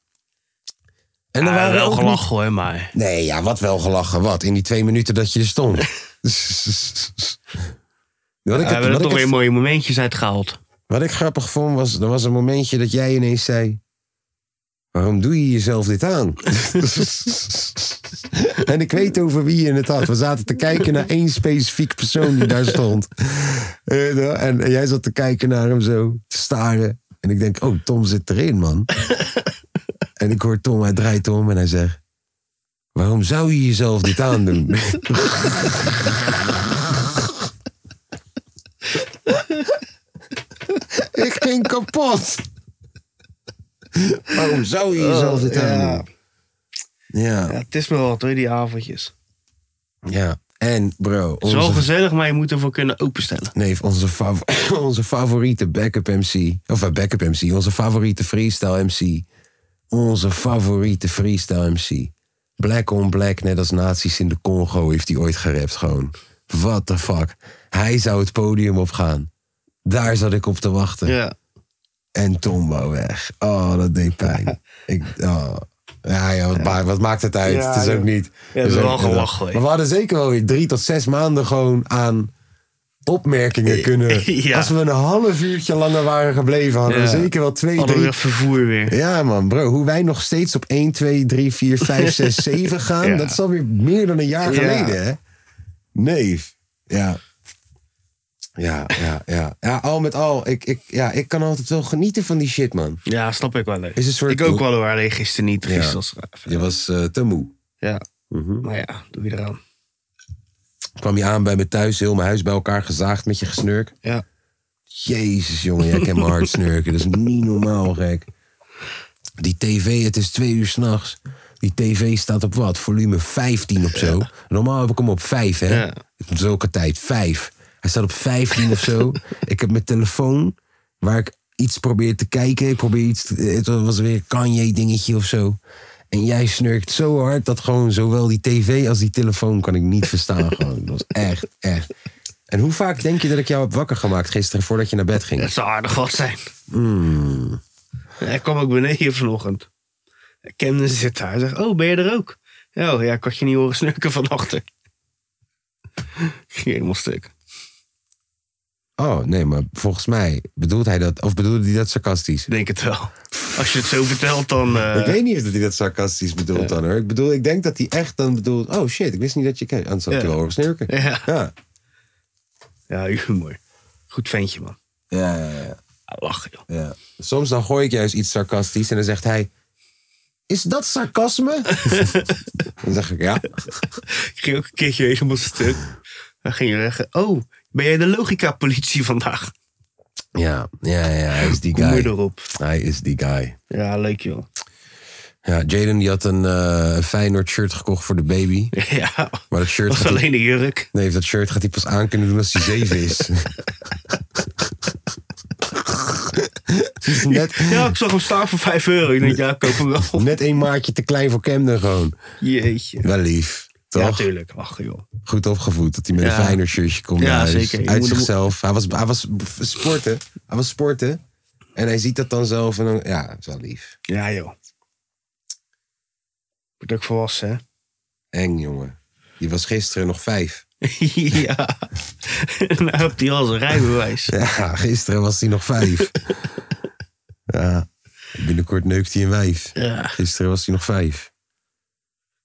Speaker 2: En dan
Speaker 3: Ja,
Speaker 2: waren er
Speaker 3: wel
Speaker 2: ook
Speaker 3: gelach hoor, maar...
Speaker 2: Nee, ja, wat wel gelachen. Wat? In die twee minuten dat je er stond. wat ik,
Speaker 3: We
Speaker 2: het-
Speaker 3: hebben er
Speaker 2: wat,
Speaker 3: toch
Speaker 2: ik
Speaker 3: weer
Speaker 2: het-
Speaker 3: mooie momentjes uitgehaald.
Speaker 2: wat ik grappig vond, was... Er was een momentje dat jij ineens zei... Waarom doe je jezelf dit aan? en ik weet over wie je het had. We zaten te kijken naar één specifiek persoon die daar stond. Eh, nou, En jij zat te kijken naar hem zo, te staren. En ik denk, oh, Tom zit erin, man. en ik hoor Tom, hij draait om en hij zegt... Waarom zou je jezelf dit aandoen? ik ging kapot. Waarom zou je jezelf dit aandoen? Ja.
Speaker 3: het is me wat hoor, die avondjes.
Speaker 2: Ja, en bro,
Speaker 3: Het is wel
Speaker 2: onze,
Speaker 3: gezellig, maar je moet ervoor kunnen openstellen.
Speaker 2: nee, onze, fav- onze favoriete backup MC. Of eh, backup MC, onze favoriete freestyle MC. Onze favoriete freestyle MC. Black on black, net als nazi's in de Congo, heeft hij ooit gerapt gewoon. What the fuck. Hij zou het podium opgaan. Daar zat ik op te wachten.
Speaker 3: Ja.
Speaker 2: En Tom wou weg. Oh, dat deed pijn. ik, oh. Ja, ja, wat, ma- wat maakt het uit?
Speaker 3: Ja,
Speaker 2: het is ook
Speaker 3: joh.
Speaker 2: niet.
Speaker 3: we hebben
Speaker 2: is
Speaker 3: wel
Speaker 2: ook-
Speaker 3: gelachen, hoor.
Speaker 2: Maar we hadden zeker wel weer drie tot zes maanden gewoon aan opmerkingen kunnen.
Speaker 3: Ja.
Speaker 2: Als we een half uurtje langer waren gebleven, hadden we
Speaker 3: Ja.
Speaker 2: zeker wel twee,
Speaker 3: Hadden we
Speaker 2: drie...
Speaker 3: weer vervoer weer.
Speaker 2: Ja man, bro. Hoe wij nog steeds op 1, 2, 3, 4, 5, 6, 7 gaan.
Speaker 3: Ja.
Speaker 2: Dat is alweer meer dan een jaar
Speaker 3: Ja.
Speaker 2: geleden, hè? Nee. Ja. Ja, ja, ja. Ja, al met al. Ik, ik, ja, ik kan altijd wel genieten van die shit, man.
Speaker 3: Ja, snap ik wel. hè.
Speaker 2: Is een soort-
Speaker 3: Ik ook wel hoor, alleen gisteren niet.
Speaker 2: Ja.
Speaker 3: Gisteren was er even-
Speaker 2: Je was eh, te moe. Mhm.
Speaker 3: Ja. Maar ja, doe je eraan.
Speaker 2: Kwam je aan bij me thuis, heel mijn huis bij elkaar gezaagd met je gesnurk.
Speaker 3: Ja.
Speaker 2: Jezus, jongen, jij kent mijn hart snurken. Dat is niet normaal, gek. Die tv, het is twee uur s'nachts. Die tv staat op wat? Volume 15 of zo. Normaal heb ik hem op 5, hè?
Speaker 3: Ja.
Speaker 2: Zulke tijd, 5. Hij staat op 15 of zo. Ik heb mijn telefoon waar ik iets probeer te kijken. Ik probeer iets. te- Het was weer een Kanye-dingetje of zo. En jij snurkt zo hard dat gewoon zowel die tv als die telefoon kan ik niet verstaan. gewoon. Dat was echt, echt. En hoe vaak denk je dat ik jou heb wakker gemaakt gisteren voordat je naar bed ging?
Speaker 3: Dat zou aardig wat zijn.
Speaker 2: Hmm.
Speaker 3: Ja, Hij kwam ook beneden vanochtend. Hij kende ze zitten. Hij zegt, oh, ben je er ook? Ja, oh, ja, ik had je niet horen snurken vanochtend. Ging helemaal stuk.
Speaker 2: Oh, nee, maar volgens mij bedoelt hij dat. Of bedoelde hij dat sarcastisch?
Speaker 3: Ik denk het wel. Als je het zo vertelt, dan... eh,
Speaker 2: Ik weet niet of dat hij dat sarcastisch bedoelt dan hoor. Ik bedoel, ik denk dat hij echt dan bedoelt. Oh shit, ik wist niet dat je kent. Anders had hij
Speaker 3: Ja.
Speaker 2: wel horen snurken.
Speaker 3: Ja.
Speaker 2: Ja.
Speaker 3: Ja, humor. Goed ventje, man.
Speaker 2: Ja, ja, ja,
Speaker 3: Ah, Lachen, joh.
Speaker 2: ja. Soms dan gooi ik juist iets sarcastisch en dan zegt hij. Is dat sarcasme? dan zeg ik ja.
Speaker 3: Ik ging ook een keertje helemaal stuk. Dan ging je weg. Oh, ben jij de logica-politie vandaag?
Speaker 2: Ja, ja, ja, hij is die
Speaker 3: Kom je
Speaker 2: guy.
Speaker 3: erop.
Speaker 2: Hij is die guy.
Speaker 3: Ja, leuk, joh.
Speaker 2: Ja, Jaden die had een eh Feyenoord shirt gekocht voor de baby.
Speaker 3: Ja,
Speaker 2: Maar dat shirt
Speaker 3: was
Speaker 2: gaat hij,
Speaker 3: alleen de jurk.
Speaker 2: nee, dat shirt gaat hij pas aan kunnen doen als hij zeven is. Het is net,
Speaker 3: Ja, ik zag hem staan voor 5 euro. Ik denk, ja, ik koop hem wel.
Speaker 2: net een maatje te klein voor Camden gewoon.
Speaker 3: Jeetje.
Speaker 2: Wel lief.
Speaker 3: Ja,
Speaker 2: Toch?
Speaker 3: natuurlijk. Ach, joh.
Speaker 2: Goed opgevoed dat hij met
Speaker 3: Ja.
Speaker 2: een fijner shirtje komt.
Speaker 3: Ja,
Speaker 2: naar huis.
Speaker 3: zeker. Je
Speaker 2: Uit
Speaker 3: moet hem-
Speaker 2: zichzelf. Hij was, hij was sporten. Hij was sporten. En hij ziet dat dan zelf. En dan, ja, dat is wel lief.
Speaker 3: Ja, joh. Wordt ook volwassen, hè?
Speaker 2: Eng, jongen. Die was gisteren nog vijf.
Speaker 3: ja. nou hebt hij al zijn rijbewijs.
Speaker 2: Ja, gisteren was hij nog vijf. ja. Binnenkort neukt hij een wijf.
Speaker 3: Ja.
Speaker 2: Gisteren was hij nog vijf.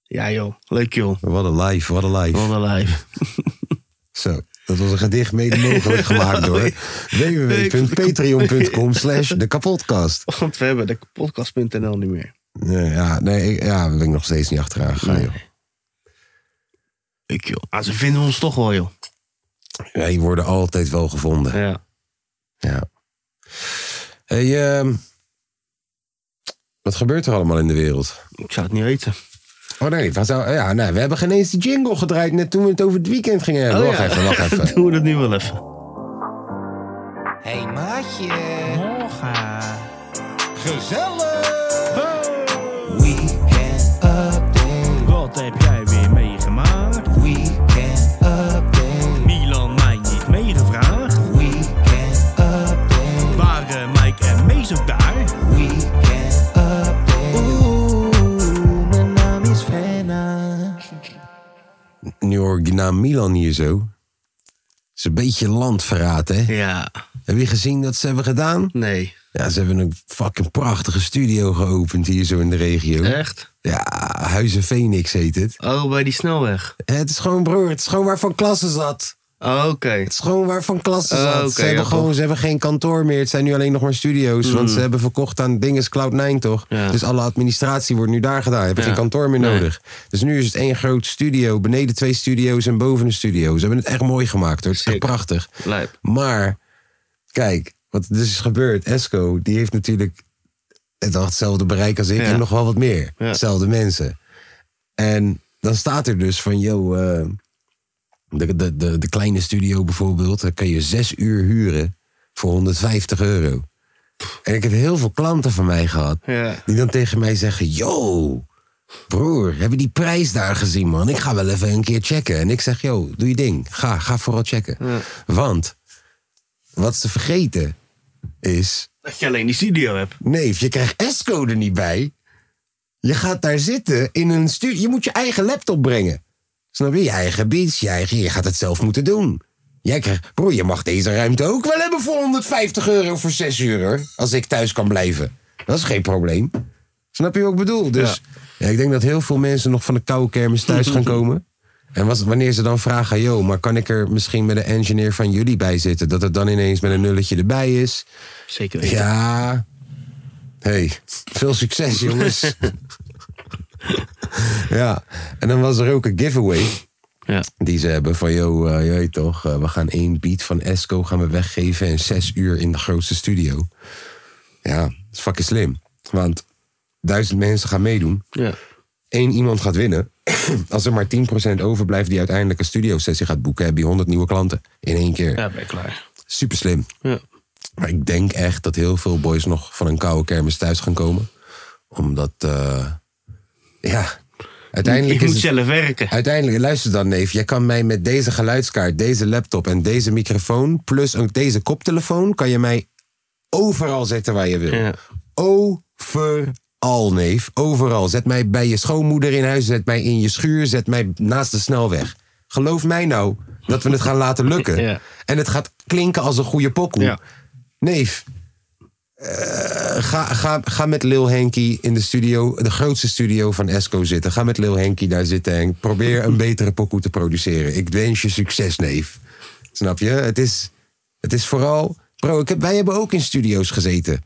Speaker 3: ja, joh. Leuk, joh.
Speaker 2: Wat een life, wat een life.
Speaker 3: Wat een lijf.
Speaker 2: Zo, dat was een gedicht mede mogelijk gemaakt door www.patreon.com slash de kapotkast.
Speaker 3: Want we hebben de podcast.nl niet meer.
Speaker 2: Nee, ja, nee, ik- ja, daar ben ik nog steeds niet achteraan gegaan, joh.
Speaker 3: Leuk, joh. Ah, ze vinden ons toch wel, joh.
Speaker 2: Wij worden altijd wel gevonden.
Speaker 3: Ja.
Speaker 2: Ja. Hey, ehm, wat gebeurt er allemaal in de wereld?
Speaker 3: Ik zou het niet weten.
Speaker 2: Oh nee, we, zou, ja, nee, we hebben geen eens die jingle gedraaid net toen we het over het weekend gingen hebben.
Speaker 3: Oh,
Speaker 2: wacht
Speaker 3: ja.
Speaker 2: even, wacht even.
Speaker 3: Doen we dat nu wel even.
Speaker 1: Hey maatje,
Speaker 4: Morgen.
Speaker 1: gezellig. Weekend update,
Speaker 4: Wat heb jij weer meegemaakt?
Speaker 1: weekend update,
Speaker 4: Milan mij niet meegevraagd.
Speaker 1: weekend update,
Speaker 4: Waren Mike en Mees ook daar?
Speaker 1: weekend update. Oeh, mijn naam is Frenna.
Speaker 2: Nu hoor ik die naam Milan hier zo. is een beetje landverraad, hè?
Speaker 3: Ja.
Speaker 2: Heb je gezien dat ze hebben gedaan?
Speaker 3: Nee.
Speaker 2: Ja, ze hebben een fucking prachtige studio geopend hier zo in de regio.
Speaker 3: Echt?
Speaker 2: Ja, Huizen Phoenix heet het.
Speaker 3: Oh, bij die snelweg.
Speaker 2: Het is gewoon, broer, het is gewoon waar Van Klassen zat.
Speaker 3: Oh, oké.
Speaker 2: Het is gewoon waar Van Klassen
Speaker 3: Oh,
Speaker 2: zat.
Speaker 3: oké,
Speaker 2: ze, hebben
Speaker 3: ja, Mm.
Speaker 2: gewoon, ze hebben geen kantoor meer. Het zijn nu alleen nog maar studio's. Want ze hebben verkocht aan dinges Cloud9, toch?
Speaker 3: Ja.
Speaker 2: Dus alle administratie wordt nu daar gedaan. Ze hebben
Speaker 3: Ja.
Speaker 2: geen kantoor meer
Speaker 3: Nee.
Speaker 2: nodig. Dus nu is het één groot studio. Beneden twee studio's en boven een studio. Ze hebben het echt mooi gemaakt, hoor. Het is echt
Speaker 3: Zeker.
Speaker 2: prachtig.
Speaker 3: Lijp.
Speaker 2: Maar, kijk, wat er dus is gebeurd. Esco, die heeft natuurlijk het, al hetzelfde bereik als ik
Speaker 3: Ja.
Speaker 2: en nog wel wat meer.
Speaker 3: Ja.
Speaker 2: Hetzelfde mensen. En dan staat er dus van, yo, eh, de, de, de, de kleine studio bijvoorbeeld, daar kan je zes uur huren voor 150 euro. En ik heb heel veel klanten van mij gehad
Speaker 3: Ja.
Speaker 2: die dan tegen mij zeggen, yo, broer, heb je die prijs daar gezien, man? Ik ga wel even een keer checken. En ik zeg, yo, doe je ding. Ga, ga vooral checken. Want wat ze vergeten is,
Speaker 3: Dat je alleen die studio hebt.
Speaker 2: nee, je krijgt Esco er niet bij. Je gaat daar zitten in een studio. Je moet je eigen laptop brengen. Snap je? Je eigen beats, je eigen. Je gaat het zelf moeten doen. Jij krijgt, broer, je mag deze ruimte ook wel hebben voor 150 euro voor 6 uur hoor. Als ik thuis kan blijven. Dat is geen probleem. Snap je wat ik bedoel? Dus ja, ik denk dat heel veel mensen nog van de koude kermis thuis gaan komen. En was, wanneer ze dan vragen, yo, maar kan ik er misschien met de engineer van jullie bij zitten? Dat het dan ineens met een nulletje erbij is.
Speaker 3: Zeker weten.
Speaker 2: Ja. Hey, veel succes jongens. ja, en dan was er ook een giveaway
Speaker 3: Ja.
Speaker 2: die ze hebben van, yo, eh, je weet toch, eh, we gaan één beat van Esco gaan we weggeven en zes uur in de grootste studio. Ja, dat is fucking slim. Want duizend mensen gaan meedoen.
Speaker 3: Ja.
Speaker 2: Eén iemand gaat winnen. Als er maar 10% overblijft die uiteindelijk een studiosessie gaat boeken, heb je 100 nieuwe klanten in één keer.
Speaker 3: ja, ben ik klaar.
Speaker 2: Super slim.
Speaker 3: Ja.
Speaker 2: Maar ik denk echt dat heel veel boys nog van een koude kermis thuis gaan komen. Omdat, eh, ja, uiteindelijk
Speaker 3: Ik
Speaker 2: is
Speaker 3: moet
Speaker 2: het...
Speaker 3: zelf werken.
Speaker 2: Uiteindelijk, luister dan neef, jij kan mij met deze geluidskaart, deze laptop en deze microfoon, plus ook deze koptelefoon, kan je mij overal zetten waar je wil.
Speaker 3: Ja.
Speaker 2: Overal neef, overal. Zet mij bij je schoonmoeder in huis, zet mij in je schuur, zet mij naast de snelweg. Geloof mij nou dat we het gaan laten lukken.
Speaker 3: Ja.
Speaker 2: En het gaat klinken als een goede pokoe.
Speaker 3: Ja.
Speaker 2: Neef, ga, ga, ga met Lil Henky in de studio, de grootste studio van Esco zitten. Ga met Lil Henky daar zitten en probeer een betere pokoe te produceren. Ik wens je succes, neef. Snap je? Het is, het is vooral... Bro, ik heb, wij hebben ook in studio's gezeten.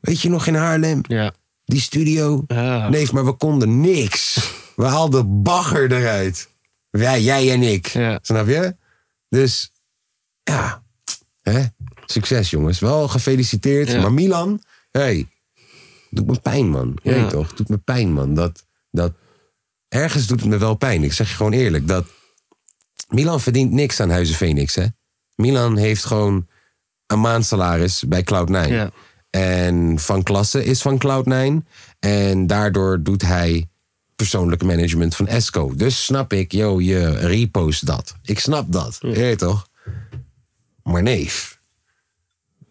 Speaker 2: Weet je nog in Haarlem?
Speaker 3: Ja.
Speaker 2: Die studio?
Speaker 3: Ja.
Speaker 2: Neef, maar we konden niks. We haalden bagger eruit. Wij, jij en ik.
Speaker 3: Ja.
Speaker 2: Snap je? Dus, ja. Hè? Succes, jongens. Wel gefeliciteerd.
Speaker 3: Ja.
Speaker 2: Maar Milan, hey, doet me pijn, man. Je
Speaker 3: Ja.
Speaker 2: weet toch? Doet me pijn, man. Dat, dat, ergens doet het me wel pijn. Ik zeg je gewoon eerlijk. Dat, Milan verdient niks aan Huizen Phoenix, hè? Milan heeft gewoon een maandsalaris bij Cloud9.
Speaker 3: Ja.
Speaker 2: En Van Klasse is van Cloud9. En daardoor doet hij persoonlijk management van Esco. Dus snap ik, yo, je repost dat. Ik snap dat. Je weet toch? Maar neef,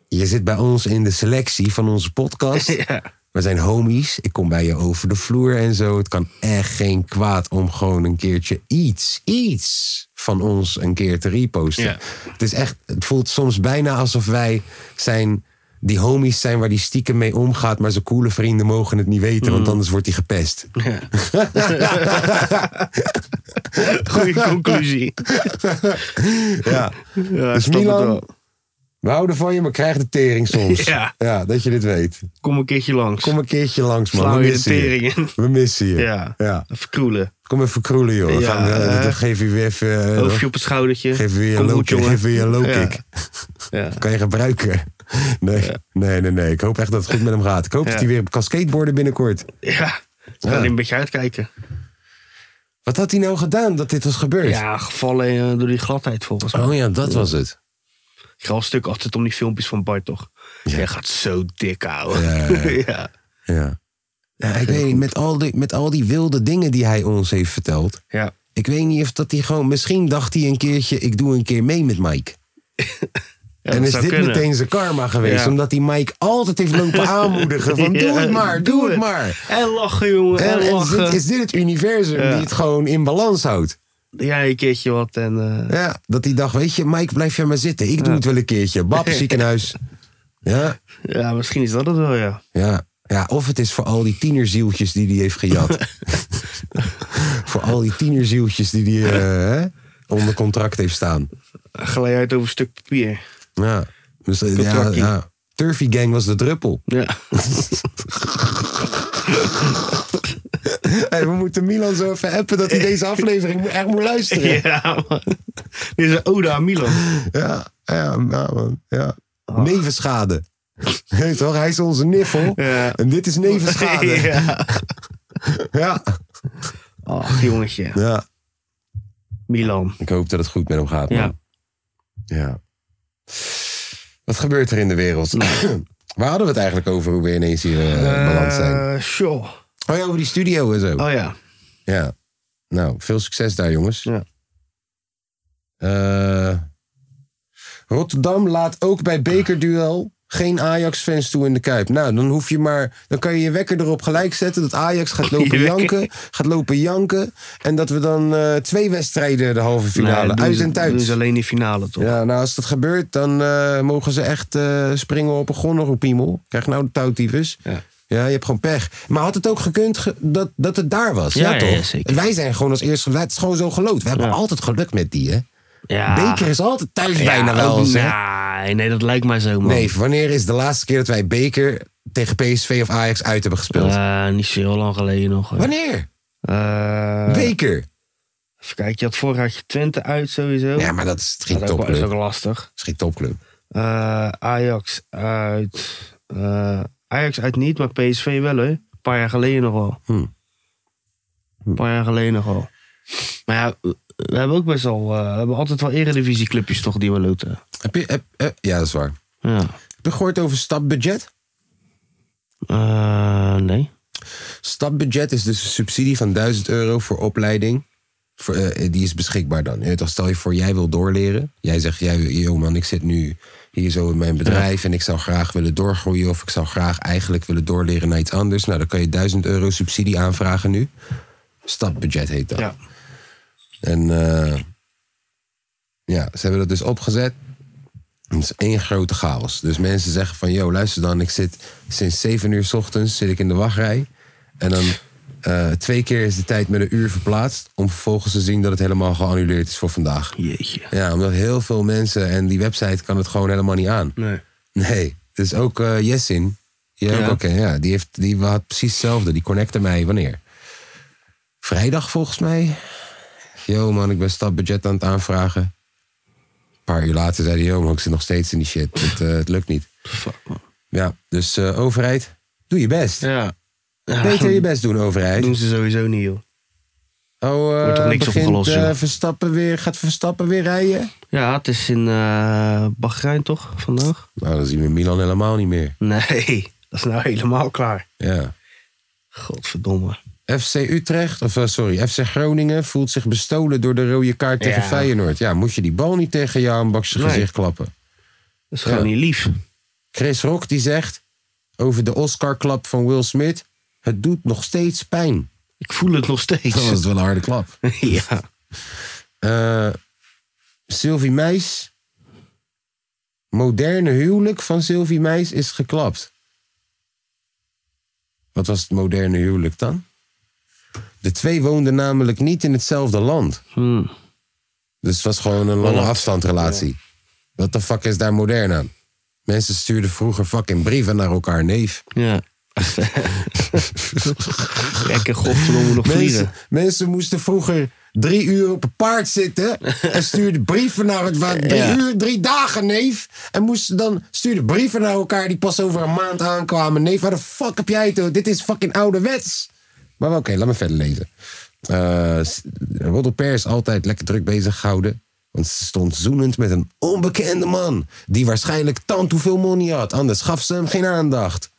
Speaker 2: je zit bij ons in de selectie van onze podcast.
Speaker 3: Ja.
Speaker 2: We zijn homies. Ik kom bij je over de vloer en zo. Het kan echt geen kwaad om gewoon een keertje iets, iets van ons een keer te reposten.
Speaker 3: Ja.
Speaker 2: Het is echt, het voelt soms bijna alsof wij zijn, die homies zijn waar die stiekem mee omgaat, maar zijn coole vrienden mogen het niet weten,
Speaker 3: Mm.
Speaker 2: want anders wordt hij gepest.
Speaker 3: Goeie conclusie.
Speaker 2: Ja.
Speaker 3: Ja,
Speaker 2: Dus
Speaker 3: ik snap het
Speaker 2: Milan-
Speaker 3: wel.
Speaker 2: We houden van je, maar krijg de tering soms.
Speaker 3: Ja.
Speaker 2: dat je dit weet.
Speaker 3: Kom een keertje langs.
Speaker 2: Kom een keertje langs, man.
Speaker 3: Slaan
Speaker 2: We
Speaker 3: weer de
Speaker 2: missen je.
Speaker 3: tering in.
Speaker 2: We missen je.
Speaker 3: Ja.
Speaker 2: ja.
Speaker 3: Even kroelen.
Speaker 2: Kom even kroelen, joh. We
Speaker 3: Ja,
Speaker 2: gaan, eh,
Speaker 3: hè?
Speaker 2: dan geef je weer even... eh,
Speaker 3: Hoofdje op het schoudertje.
Speaker 2: Geef weer
Speaker 3: Kom
Speaker 2: een low
Speaker 3: goed,
Speaker 2: kick.
Speaker 3: jongen.
Speaker 2: Geef weer een low
Speaker 3: Ja.
Speaker 2: kick.
Speaker 3: Ja.
Speaker 2: Kan je gebruiken. Nee, nee, nee, nee. Ik hoop echt dat het goed met hem gaat. Ik hoop
Speaker 3: Ja.
Speaker 2: dat hij weer kan skateboarden binnenkort.
Speaker 3: Ja. Ga er een beetje uitkijken.
Speaker 2: Wat had hij nou gedaan dat dit was gebeurd?
Speaker 3: Ja, gevallen eh, door die gladheid volgens mij.
Speaker 2: Oh ja, dat was het. Oh.
Speaker 3: Ik ga al een stuk altijd om die filmpjes van Bart, toch? Jij gaat zo dik houden.
Speaker 2: Ja, ja, ja.
Speaker 3: ja.
Speaker 2: Ja. Ja, ik weet niet, met al, die, met al die wilde dingen die hij ons heeft verteld.
Speaker 3: Ja.
Speaker 2: Ik weet niet of dat hij gewoon... Misschien dacht hij een keertje, ik doe een keer mee met Mike.
Speaker 3: Ja,
Speaker 2: en
Speaker 3: dat
Speaker 2: is
Speaker 3: zou
Speaker 2: dit
Speaker 3: kunnen.
Speaker 2: meteen zijn karma geweest.
Speaker 3: Ja.
Speaker 2: Omdat hij Mike altijd heeft lopen aanmoedigen. Van doe
Speaker 3: Ja,
Speaker 2: het maar, doe het maar.
Speaker 3: En lachen, jongen. En,
Speaker 2: En, en is,
Speaker 3: lachen.
Speaker 2: dit, is dit het universum
Speaker 3: Ja.
Speaker 2: die het gewoon in balans houdt?
Speaker 3: Ja, een keertje wat. En, eh,
Speaker 2: Ja, dat hij dacht, weet je, Mike, blijf jij maar zitten. Ik doe het wel een keertje. Bab, ziekenhuis. Ja,
Speaker 3: ja, misschien is dat het wel, ja.
Speaker 2: ja. Ja, of het is voor al die tienerzieltjes die hij heeft gejat. voor al die tienerzieltjes die hij eh, hè, onder contract heeft staan.
Speaker 3: Glij uit over een stuk papier.
Speaker 2: Ja, dus, eh, ja,
Speaker 3: Contractie.
Speaker 2: ja. Turfy Gang was de druppel.
Speaker 3: Ja.
Speaker 2: Hey, we moeten Milan zo even appen dat hij deze aflevering echt moet luisteren.
Speaker 3: ja, man. Dit is een ode aan Milan.
Speaker 2: Ja, ja, ja, man. Ja. Nevenschade. Weet toch? Hij is onze niffel.
Speaker 3: Ja.
Speaker 2: En dit is nevenschade. Ja.
Speaker 3: ja.
Speaker 2: ja.
Speaker 3: Ach, jongetje. Milan.
Speaker 2: Ik hoop dat het goed met hem gaat,
Speaker 3: Ja.
Speaker 2: man. Ja. Wat gebeurt er in de wereld? Waar hadden we het eigenlijk over hoe we ineens hier eh, in balans zijn?
Speaker 3: Eh, Sjoe.
Speaker 2: Oh ja, over die studio en zo.
Speaker 3: Oh ja.
Speaker 2: Ja. Nou, veel succes daar, jongens.
Speaker 3: Ja.
Speaker 2: Eh, Rotterdam laat ook bij bekerduel geen Ajax-fans toe in de Kuip. Nou, dan hoef je maar... Dan kan je je wekker erop gelijk zetten dat Ajax gaat lopen
Speaker 3: Je
Speaker 2: janken. Gaat lopen janken. En dat we dan eh, twee wedstrijden de halve finale...
Speaker 3: Nee, doen
Speaker 2: uit
Speaker 3: ze-
Speaker 2: en thuis.
Speaker 3: Doen ze alleen die finale, toch?
Speaker 2: Ja, nou, als dat gebeurt, dan eh, mogen ze echt eh, springen op een gonneroepiemel. Krijg nou de touwtyfus.
Speaker 3: Ja.
Speaker 2: Ja, je hebt gewoon pech. Maar had het ook gekund ge- dat, dat het daar was? Ja,
Speaker 3: Ja, ja,
Speaker 2: toch?
Speaker 3: ja, zeker.
Speaker 2: Wij zijn gewoon als eerste... Het is gewoon zo geloot. We hebben altijd geluk met die, hè?
Speaker 3: Ja.
Speaker 2: Beker is altijd thuis
Speaker 3: Ah. Ja,
Speaker 2: bijna wel
Speaker 3: ook-
Speaker 2: eens, hè?
Speaker 3: Nee, nee, dat lijkt mij zo, man.
Speaker 2: Nee, wanneer is de laatste keer dat wij Beker tegen PSV of Ajax uit hebben gespeeld?
Speaker 3: Eh, niet zo heel lang geleden nog. hè.
Speaker 2: wanneer?
Speaker 3: Eh,
Speaker 2: Beker?
Speaker 3: even kijken, je had vorig jaar had je Twente uit sowieso.
Speaker 2: Ja, maar dat is geen
Speaker 3: dat is ook, wel- is ook
Speaker 2: topclub.
Speaker 3: lastig.
Speaker 2: Dat is geen topclub.
Speaker 3: Eh, Ajax uit. eh, Ajax uit niet, maar PSV wel, hè? Een paar jaar geleden nog al.
Speaker 2: Hmm.
Speaker 3: Een paar jaar geleden nog al. Maar ja, we hebben ook best wel. eh, we hebben altijd wel eredivisieclubjes toch die we loten.
Speaker 2: Heb je, heb- eh, ja, dat is waar.
Speaker 3: Ja.
Speaker 2: Heb je gehoord over stapbudget?
Speaker 3: Eh, nee.
Speaker 2: Stapbudget is dus een subsidie van 1000 euro voor opleiding. Voor, eh, die is beschikbaar dan. Je weet toch, Stel je voor, jij wil doorleren. Jij zegt, jij, joh man, ik zit nu hier zo in mijn bedrijf... en ik zou graag willen doorgroeien... of ik zou graag eigenlijk willen doorleren naar iets anders. Nou, dan kan je 1000 euro subsidie aanvragen nu. Stapbudget heet dat.
Speaker 3: Ja.
Speaker 2: En eh, ja, ze hebben dat dus opgezet. Het is één grote chaos. Dus mensen zeggen van, yo, luister dan, ik zit sinds 7 uur 's ochtends zit ik in de wachtrij. En dan eh, twee keer is de tijd met een uur verplaatst. Om vervolgens te zien dat het helemaal geannuleerd is voor vandaag.
Speaker 3: Jeetje.
Speaker 2: Ja, omdat heel veel mensen en die website kan het gewoon helemaal niet aan.
Speaker 3: Nee.
Speaker 2: Nee, dus ook eh Jessin. Ja,
Speaker 3: Ja.
Speaker 2: ook oké, ja, die, heeft, die had precies hetzelfde. Die connecte mij wanneer? Vrijdag volgens mij. Yo man, ik ben stapbudget aan het aanvragen. Een paar uur later zei hij, yo man, ik zit nog steeds in die shit. Het, eh, het lukt niet.
Speaker 3: Fuck, man.
Speaker 2: Ja, dus eh, overheid, doe je best.
Speaker 3: Ja.
Speaker 2: Beter je best doen, overheid.
Speaker 3: Doen ze sowieso niet, joh.
Speaker 2: Oh, eh,
Speaker 3: Wordt toch niks
Speaker 2: begint,
Speaker 3: opgelost, joh.
Speaker 2: eh, Verstappen weer, gaat Verstappen weer rijden?
Speaker 3: Ja, het is in eh Bahrein toch vandaag?
Speaker 2: Nou, dan zien we Milan helemaal niet meer.
Speaker 3: Nee, dat is nou helemaal klaar.
Speaker 2: Ja.
Speaker 3: Godverdomme.
Speaker 2: FC Utrecht, of eh, sorry, FC Groningen voelt zich bestolen door de rode kaart tegen
Speaker 3: Ja.
Speaker 2: Feyenoord. Ja, moet je die bal niet tegen je aanbakse
Speaker 3: Nee.
Speaker 2: gezicht klappen.
Speaker 3: Dat is gewoon niet lief.
Speaker 2: Chris Rock die zegt over de Oscar-klap van Will Smith: Het doet nog steeds pijn.
Speaker 3: Ik voel het nog steeds.
Speaker 2: Dat was wel een harde klap.
Speaker 3: ja.
Speaker 2: Eh, Sylvie Meis. Moderne huwelijk van Sylvie Meis is geklapt. Wat was het moderne huwelijk dan? De twee woonden namelijk niet in hetzelfde land.
Speaker 3: Hmm.
Speaker 2: Dus het was gewoon een lange afstandrelatie. Wat de fuck is daar modern aan? Mensen stuurden vroeger fucking brieven naar elkaar, neef.
Speaker 3: Ja. Lekker godverdomme nog
Speaker 2: Mensen,
Speaker 3: vliegen.
Speaker 2: mensen moesten vroeger drie uur op een paard zitten. En stuurden brieven naar het wa- Drie
Speaker 3: Ja.
Speaker 2: uur, drie dagen, neef. En moesten dan stuurden brieven naar elkaar die pas over een maand aankwamen. Neef, waar de fuck heb jij het? over? Dit is fucking ouderwets. Maar wel, oké, laat me verder lezen. Eh Roddelper is altijd lekker druk bezig gehouden. Want ze stond zoenend met een onbekende man. Die waarschijnlijk tant hoeveel money had. Anders gaf ze hem geen aandacht.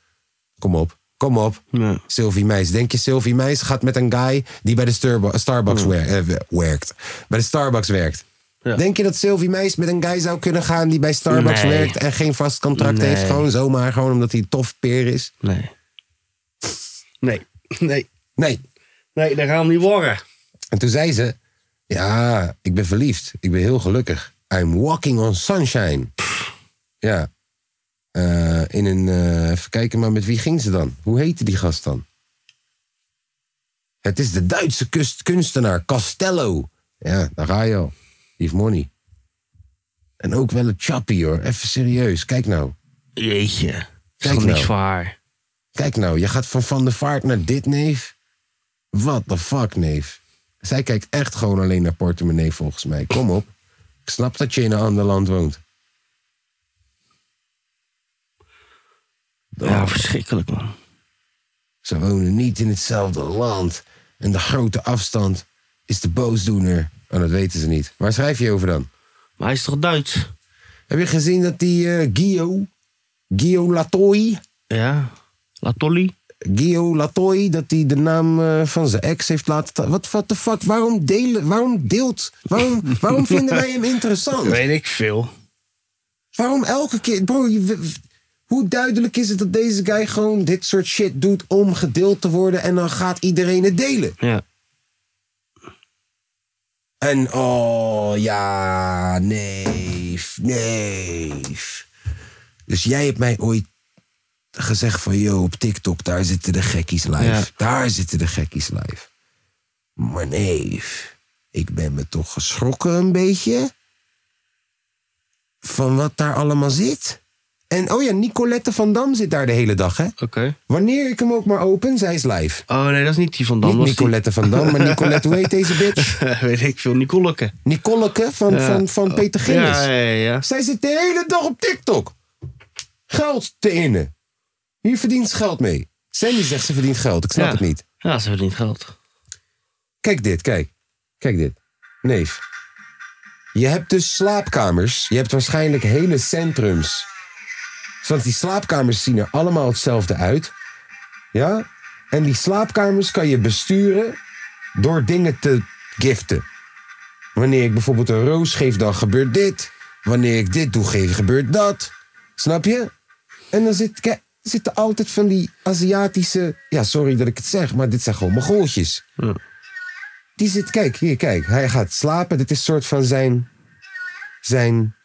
Speaker 2: Kom op, kom op.
Speaker 3: Ja.
Speaker 2: Sylvie Meis. Denk je Sylvie Meis gaat met een guy die bij de Sturbo- Starbucks wer- eh, we- werkt? Bij de Starbucks werkt.
Speaker 3: Ja.
Speaker 2: Denk je dat Sylvie Meis met een guy zou kunnen gaan die bij Starbucks
Speaker 3: Nee.
Speaker 2: werkt en geen vast contract
Speaker 3: Nee.
Speaker 2: heeft? Gewoon zomaar, gewoon omdat hij een tof peer is?
Speaker 3: Nee. Nee. Nee.
Speaker 2: Nee.
Speaker 3: Nee, dat gaan we niet worden.
Speaker 2: En toen zei ze: Ja, ik ben verliefd. Ik ben heel gelukkig. I'm walking on sunshine. Ja. Eh, in een. eh, even kijken, maar met wie ging ze dan? Hoe heette die gast dan? Het is de Duitse kust- kunstenaar Castello. Ja, daar ga je al. Die heeft money. En ook wel een chappie hoor. Even serieus. Kijk nou.
Speaker 3: Jeetje. Dat is
Speaker 2: Kijk
Speaker 3: toch
Speaker 2: nou.
Speaker 3: niks voor haar.
Speaker 2: Kijk nou, je gaat van Van der Vaart naar dit, neef. What the fuck, neef? Zij kijkt echt gewoon alleen naar portemonnee, volgens mij. Kom op. Ik snap dat je in een ander land woont.
Speaker 3: Ja, verschrikkelijk man.
Speaker 2: Ze wonen niet in hetzelfde land. En de grote afstand is de boosdoener. Oh, dat weten ze niet. Waar schrijf je over dan?
Speaker 3: Maar hij is toch Duits?
Speaker 2: Heb je gezien dat die eh, Guillaume... Guillaume Latoy...
Speaker 3: Ja. Latolli?
Speaker 2: Guillaume Latoy, dat hij de naam eh, van zijn ex heeft laten... ta- Wat what the fuck? Waarom, delen, waarom deelt... Waarom, waarom Oh, vinden wij hem interessant?
Speaker 3: Weet ik veel.
Speaker 2: Waarom elke keer... Bro, je- we- Hoe duidelijk is het dat deze guy gewoon dit soort shit doet om gedeeld te worden en dan gaat iedereen het delen?
Speaker 3: Ja.
Speaker 2: En oh ja, neef, neef. Dus jij hebt mij ooit gezegd van, yo, op TikTok, daar zitten de gekkies live.
Speaker 3: Ja.
Speaker 2: Daar zitten de gekkies live. Maar neef, ik ben me toch geschrokken een beetje van wat daar allemaal zit. En oh ja, Nicolette van Dam zit daar de hele dag, hè?
Speaker 3: Oké.
Speaker 2: Wanneer ik hem ook maar open, zij is live.
Speaker 3: Oh nee, dat is niet die van Dam.
Speaker 2: Niet
Speaker 3: dat is die-
Speaker 2: Nicolette van Dam, maar Nicolette, hoe heet deze bitch?
Speaker 3: Weet ik veel, Nicoleke.
Speaker 2: Nicoleke van, van, van Peter Ginnis.
Speaker 3: Oh, Ja, ja, ja.
Speaker 2: Zij zit de hele dag op TikTok. Geld te innen. Hier verdient ze geld mee. Sandy zegt ze verdient geld. Ik snap
Speaker 3: Ja.
Speaker 2: het niet.
Speaker 3: Ja, ze verdient geld.
Speaker 2: Kijk dit, kijk. Kijk dit. Neef. Je hebt dus slaapkamers. Je hebt waarschijnlijk hele centrums. Want die slaapkamers zien er allemaal hetzelfde uit. Ja? En die slaapkamers kan je besturen door dingen te giften. Wanneer ik bijvoorbeeld een roos geef, dan gebeurt dit. Wanneer ik dit doe, geef, gebeurt dat. Snap je? En dan zit, kijk, zitten altijd van die Aziatische... Ja, sorry dat ik het zeg, maar dit zijn gewoon Mongooltjes. Die zit, kijk, hier, kijk. Hij gaat slapen. Dit is een soort van zijn, zijn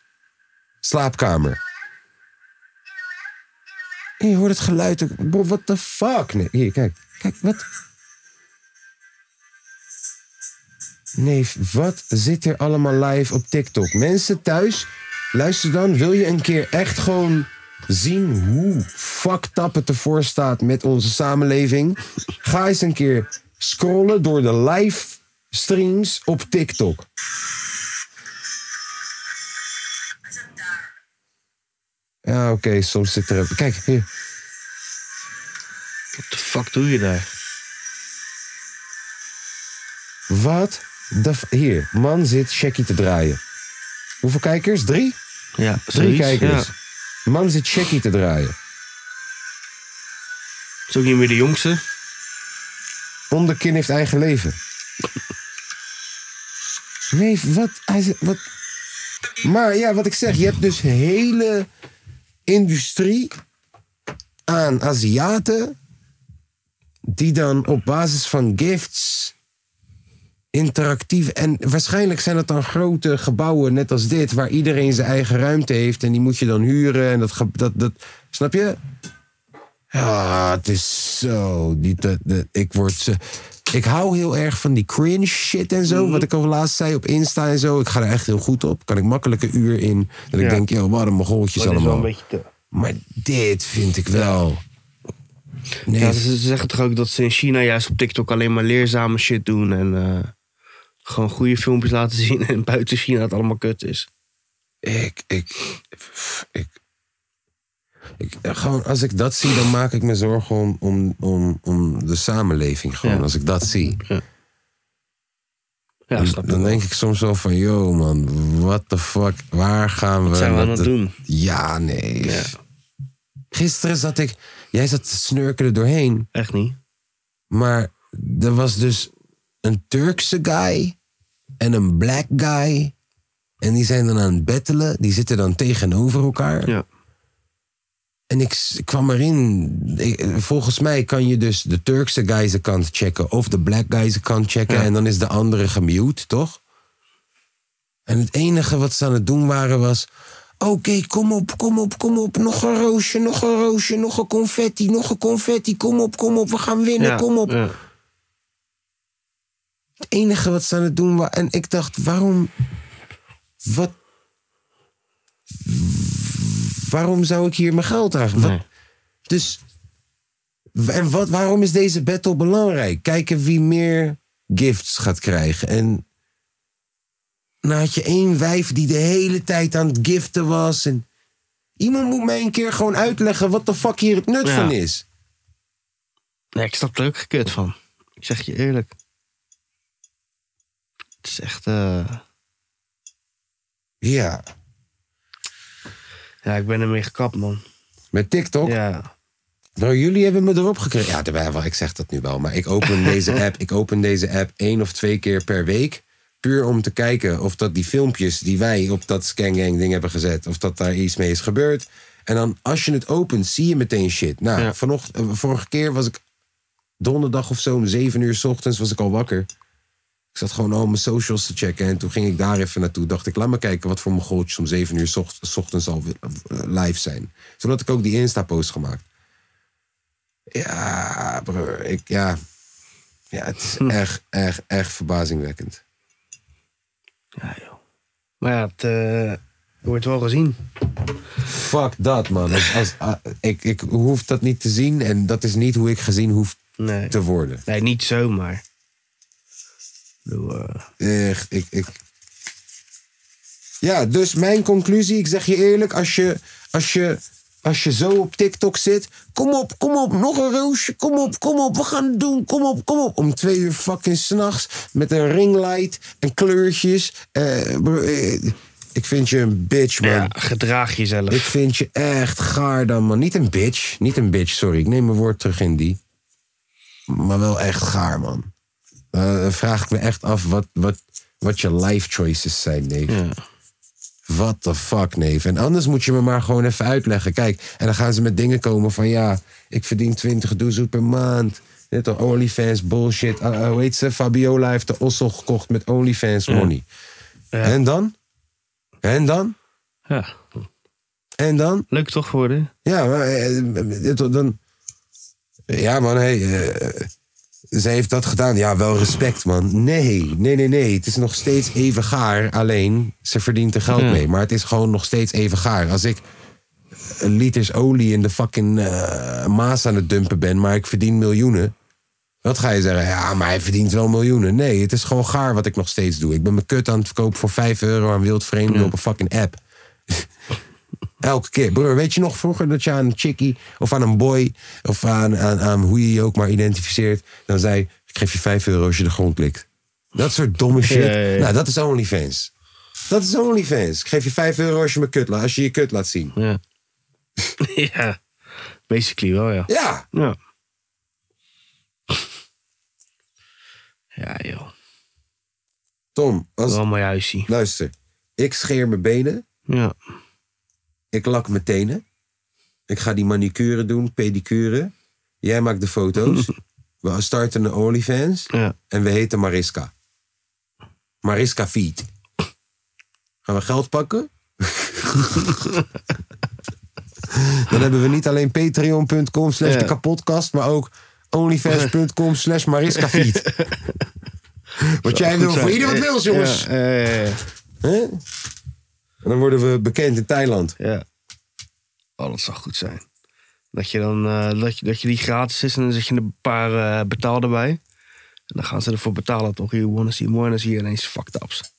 Speaker 2: slaapkamer. En je hoort het geluid. ook. Bro, what the fuck? Nee, hier, kijk. Kijk, wat? Neef, wat zit er allemaal live op TikTok? Mensen thuis, luister dan. Wil je een keer echt gewoon zien hoe fucked up het ervoor staat met onze samenleving? Ga eens een keer scrollen door de live streams op TikTok. Ja, oké, soms zit er... Kijk, hier.
Speaker 3: Wat de fuck doe je daar?
Speaker 2: Wat? de f- hier, man zit Shaggy te draaien. Hoeveel kijkers? Drie?
Speaker 3: Ja,
Speaker 2: Drie
Speaker 3: zoiets,
Speaker 2: kijkers.
Speaker 3: ja.
Speaker 2: Man zit Shaggy te draaien.
Speaker 3: Is ook niet meer de jongste.
Speaker 2: Onderkin heeft eigen leven. Nee, wat, hij zegt- wat? Maar ja, wat ik zeg, je hebt dus hele industrie aan Aziaten die dan op basis van gifts interactief en waarschijnlijk zijn dat dan grote gebouwen net als dit waar iedereen zijn eigen ruimte heeft en die moet je dan huren en dat ge- dat, dat snap je? Ja, het is zo. Die, de, de- ik word zo- Ik hou heel erg van die cringe shit en zo. Wat ik al laatst zei op Insta en zo. Ik ga er echt heel goed op. Kan ik makkelijk een uur in. Dat ik
Speaker 3: Ja. Oh,
Speaker 2: denk, joh, wat een mogoltjes allemaal.
Speaker 3: beetje te...
Speaker 2: Maar dit vind ik wel. Nee,
Speaker 3: Ja, ze ze zeggen toch ook dat ze in China juist op TikTok alleen maar leerzame shit doen. En eh, gewoon goede filmpjes laten zien. En buiten China het allemaal kut is.
Speaker 2: ik, ik, ik, ik- Gewoon, als ik dat zie, dan maak ik me zorgen om, om, om, om de samenleving. Gewoon,
Speaker 3: Ja.
Speaker 2: als ik dat zie.
Speaker 3: Ja,
Speaker 2: Dan-
Speaker 3: snap ik.
Speaker 2: dan
Speaker 3: wel.
Speaker 2: denk ik soms wel van, yo man, what the fuck, waar gaan we...
Speaker 3: zijn we aan
Speaker 2: met
Speaker 3: het
Speaker 2: de-
Speaker 3: doen?
Speaker 2: Ja, nee.
Speaker 3: Ja,
Speaker 2: Gisteren zat ik, jij zat te snurken er doorheen,
Speaker 3: echt niet.
Speaker 2: maar er was dus een Turkse guy en een black guy. En die zijn dan aan het bettelen, die zitten dan tegenover elkaar.
Speaker 3: Ja.
Speaker 2: En ik, s- ik kwam erin. Ik- volgens mij kan je dus de Turkse guy zijn kant checken. Of de black guy zijn kant checken. En dan is de andere gemute, toch? En het enige wat ze aan het doen waren was... Oké, kom op, kom op, kom op. Nog een roosje, nog een roosje, nog een confetti, nog een confetti. Kom op, kom op, we gaan winnen,
Speaker 3: Ja,
Speaker 2: kom op.
Speaker 3: ja.
Speaker 2: Het enige wat ze aan het doen was... En ik dacht, waarom... Wat... Waarom zou ik hier mijn geld aan... Wat,
Speaker 3: Nee.
Speaker 2: dus en wat, waarom is deze battle belangrijk? Kijken wie meer gifts gaat krijgen. En nou had je één wijf die de hele tijd aan het giften was. En iemand moet mij een keer gewoon uitleggen wat de fuck hier het nut
Speaker 3: Ja.
Speaker 2: van is.
Speaker 3: Nee, ik snap er ook gekut van. Ik zeg je eerlijk. Het is echt... eh,
Speaker 2: Ja,
Speaker 3: Ja, ik ben ermee gekapt, man.
Speaker 2: met TikTok.
Speaker 3: Ja.
Speaker 2: Nou, jullie hebben me erop gekregen. Ja, terwijl wel, ik zeg dat nu wel. Maar ik open deze app, ik open deze app één of twee keer per week. Puur om te kijken of dat die filmpjes die wij op dat scangang ding hebben gezet, of dat daar iets mee is gebeurd. En dan als je het opent, zie je meteen shit. Nou,
Speaker 3: Ja.
Speaker 2: vanochtend, eh, vorige keer was ik donderdag of zo om 7 uur 's ochtends was ik al wakker. Ik zat gewoon al mijn socials te checken. En toen ging ik daar even naartoe. Dacht ik, laat maar kijken wat voor mijn goaltjes om 7 uur 's ocht- 's ochtends al eh, live zijn. Zodat ik ook die Insta-post gemaakt. Ja, broer. Ik, ja. ja, het is echt, echt, echt verbazingwekkend.
Speaker 3: Ja, joh. Maar ja, het eh, wordt wel gezien.
Speaker 2: Fuck dat, man. Als, als, ah, ik, ik hoef dat niet te zien. En dat is niet hoe ik gezien hoef
Speaker 3: Nee,
Speaker 2: te worden.
Speaker 3: nee niet zomaar. Ik bedoel, eh,
Speaker 2: Echt, ik, ik. Ja, dus mijn conclusie, ik zeg je eerlijk, als je, als je, als je zo op TikTok zit, kom op, kom op, nog een roosje, kom op, kom op, we gaan het doen, kom op, kom op. Om twee uur fucking s'nachts met een ringlight en kleurtjes. eh, bro, eh, ik vind je een bitch, man.
Speaker 3: ja, gedraag jezelf.
Speaker 2: Ik vind je echt gaar dan, man. Niet een bitch, niet een bitch, sorry. Ik neem mijn woord terug in die. Maar wel echt gaar, man. Eh, dan vraag ik me echt af wat, wat, wat je life choices zijn, neef.
Speaker 3: Ja.
Speaker 2: What the fuck, neef. En anders moet je me maar gewoon even uitleggen. Kijk, en dan gaan ze met dingen komen van... ja, ik verdien 20 doezoe per maand. Net al OnlyFans bullshit. Ah, ah, hoe heet ze? Fabiola heeft de ossel gekocht met OnlyFans money. En dan? En dan?
Speaker 3: Ja.
Speaker 2: En dan?
Speaker 3: Leuk toch geworden?
Speaker 2: Ja, maar eh, eh, dan. Ja, man, hey, eh, ze heeft dat gedaan. Ja, wel respect, man. Nee, nee, nee, nee. Het is nog steeds even gaar. Alleen, ze verdient er geld mee. Maar het is gewoon nog steeds even gaar. Als ik een liters olie in de fucking eh, Maas aan het dumpen ben, maar ik verdien miljoenen. Wat ga je zeggen? Ja, maar hij verdient wel miljoenen. Nee, het is gewoon gaar wat ik nog steeds doe. Ik ben mijn kut aan het verkopen voor 5 euro aan wildvreemden op een fucking app. Elke keer. Broer, weet je nog vroeger dat je aan een chickie of aan een boy of aan, aan, aan hoe je je ook maar identificeert, dan zei ik geef je 5 euro als je de grond likt. Dat soort domme shit.
Speaker 3: Ja, ja, ja.
Speaker 2: Nou, dat is OnlyFans. Dat is OnlyFans. Ik geef je 5 euro als je, me kut, la- als je je kut laat zien.
Speaker 3: Ja. ja. Basically wel, ja.
Speaker 2: Ja,
Speaker 3: Ja. Ja, joh.
Speaker 2: Tom, als,
Speaker 3: Wel een mooi huisje.
Speaker 2: luister. Ik scheer mijn benen.
Speaker 3: Ja.
Speaker 2: Ik lak mijn tenen. Ik ga die manicure doen, pedicure. Jij maakt de foto's. We starten een OnlyFans.
Speaker 3: Ja.
Speaker 2: En we heten Mariska. Mariska Feet. Gaan we geld pakken? Dan hebben we niet alleen patreon.com slash
Speaker 3: Ja.
Speaker 2: de kapotkast, maar ook onlyfans.com slash Mariska Feet. Wat jij wil, voor ieder wat wil, jongens.
Speaker 3: Ja, eh, ja,
Speaker 2: Hè? En dan worden we bekend in Thailand.
Speaker 3: ja. Oh, dat zou goed zijn. Dat je dan eh, dat, je, dat je die gratis is en dan zet je een paar eh, betaalde bij. En dan gaan ze ervoor betalen toch. You wanna see more en dan zie je ineens fucked ups.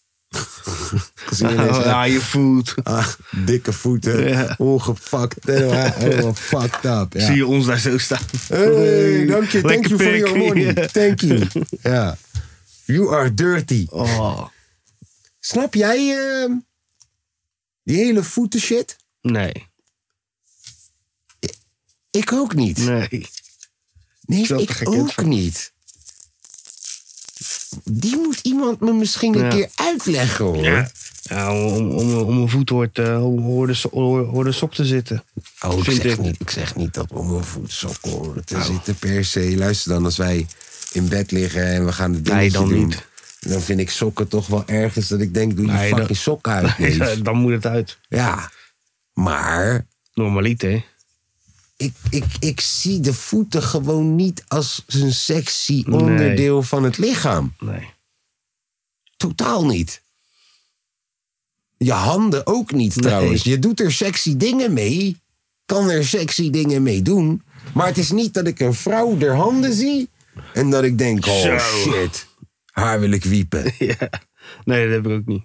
Speaker 2: Gezien ineens,
Speaker 3: Oh, ja, je food.
Speaker 2: ah, dikke voeten,
Speaker 3: Ja.
Speaker 2: ongepakt, helemaal, helemaal fucked up. Ja.
Speaker 3: Zie je ons daar zo staan.
Speaker 2: Hey, dank je. Thank
Speaker 3: Lekker
Speaker 2: you for your
Speaker 3: pik.
Speaker 2: money. Thank you. Ja. You are dirty.
Speaker 3: Oh,
Speaker 2: Snap jij eh, die hele voeten shit?
Speaker 3: nee.
Speaker 2: Ik ook niet. Nee,
Speaker 3: Nee. snap de
Speaker 2: ik
Speaker 3: gekheid
Speaker 2: ook
Speaker 3: van.
Speaker 2: niet. Die moet iemand me misschien een
Speaker 3: Ja.
Speaker 2: keer uitleggen hoor.
Speaker 3: Ja, om, om, om een voet hoort, eh, ho- hoor, de, so- hoor, hoor de sok te zitten.
Speaker 2: Oh, ik
Speaker 3: Vind
Speaker 2: zeg,
Speaker 3: ik. Nou.
Speaker 2: Niet, ik zeg niet dat om een voetsok horen te zitten per se. Luister dan, als wij in bed liggen en we gaan de dingetje
Speaker 3: Nee, dan
Speaker 2: doen...
Speaker 3: niet.
Speaker 2: dan vind ik sokken toch wel ergens dat ik denk... doe je
Speaker 3: Nee, dan-
Speaker 2: fucking sokken uit, neef.
Speaker 3: Dan moet het uit.
Speaker 2: Ja, maar
Speaker 3: Normaliter.
Speaker 2: ik, ik, ik zie de voeten gewoon niet als een sexy onderdeel van het lichaam.
Speaker 3: Nee.
Speaker 2: Totaal niet. Je handen ook niet trouwens. Je doet er sexy dingen mee. Kan er sexy dingen mee doen. Maar het is niet dat ik een vrouw der handen zie. En dat ik denk, oh
Speaker 3: Zo.
Speaker 2: shit. Haar wil ik wiepen.
Speaker 3: Ja. Nee, dat heb ik ook niet.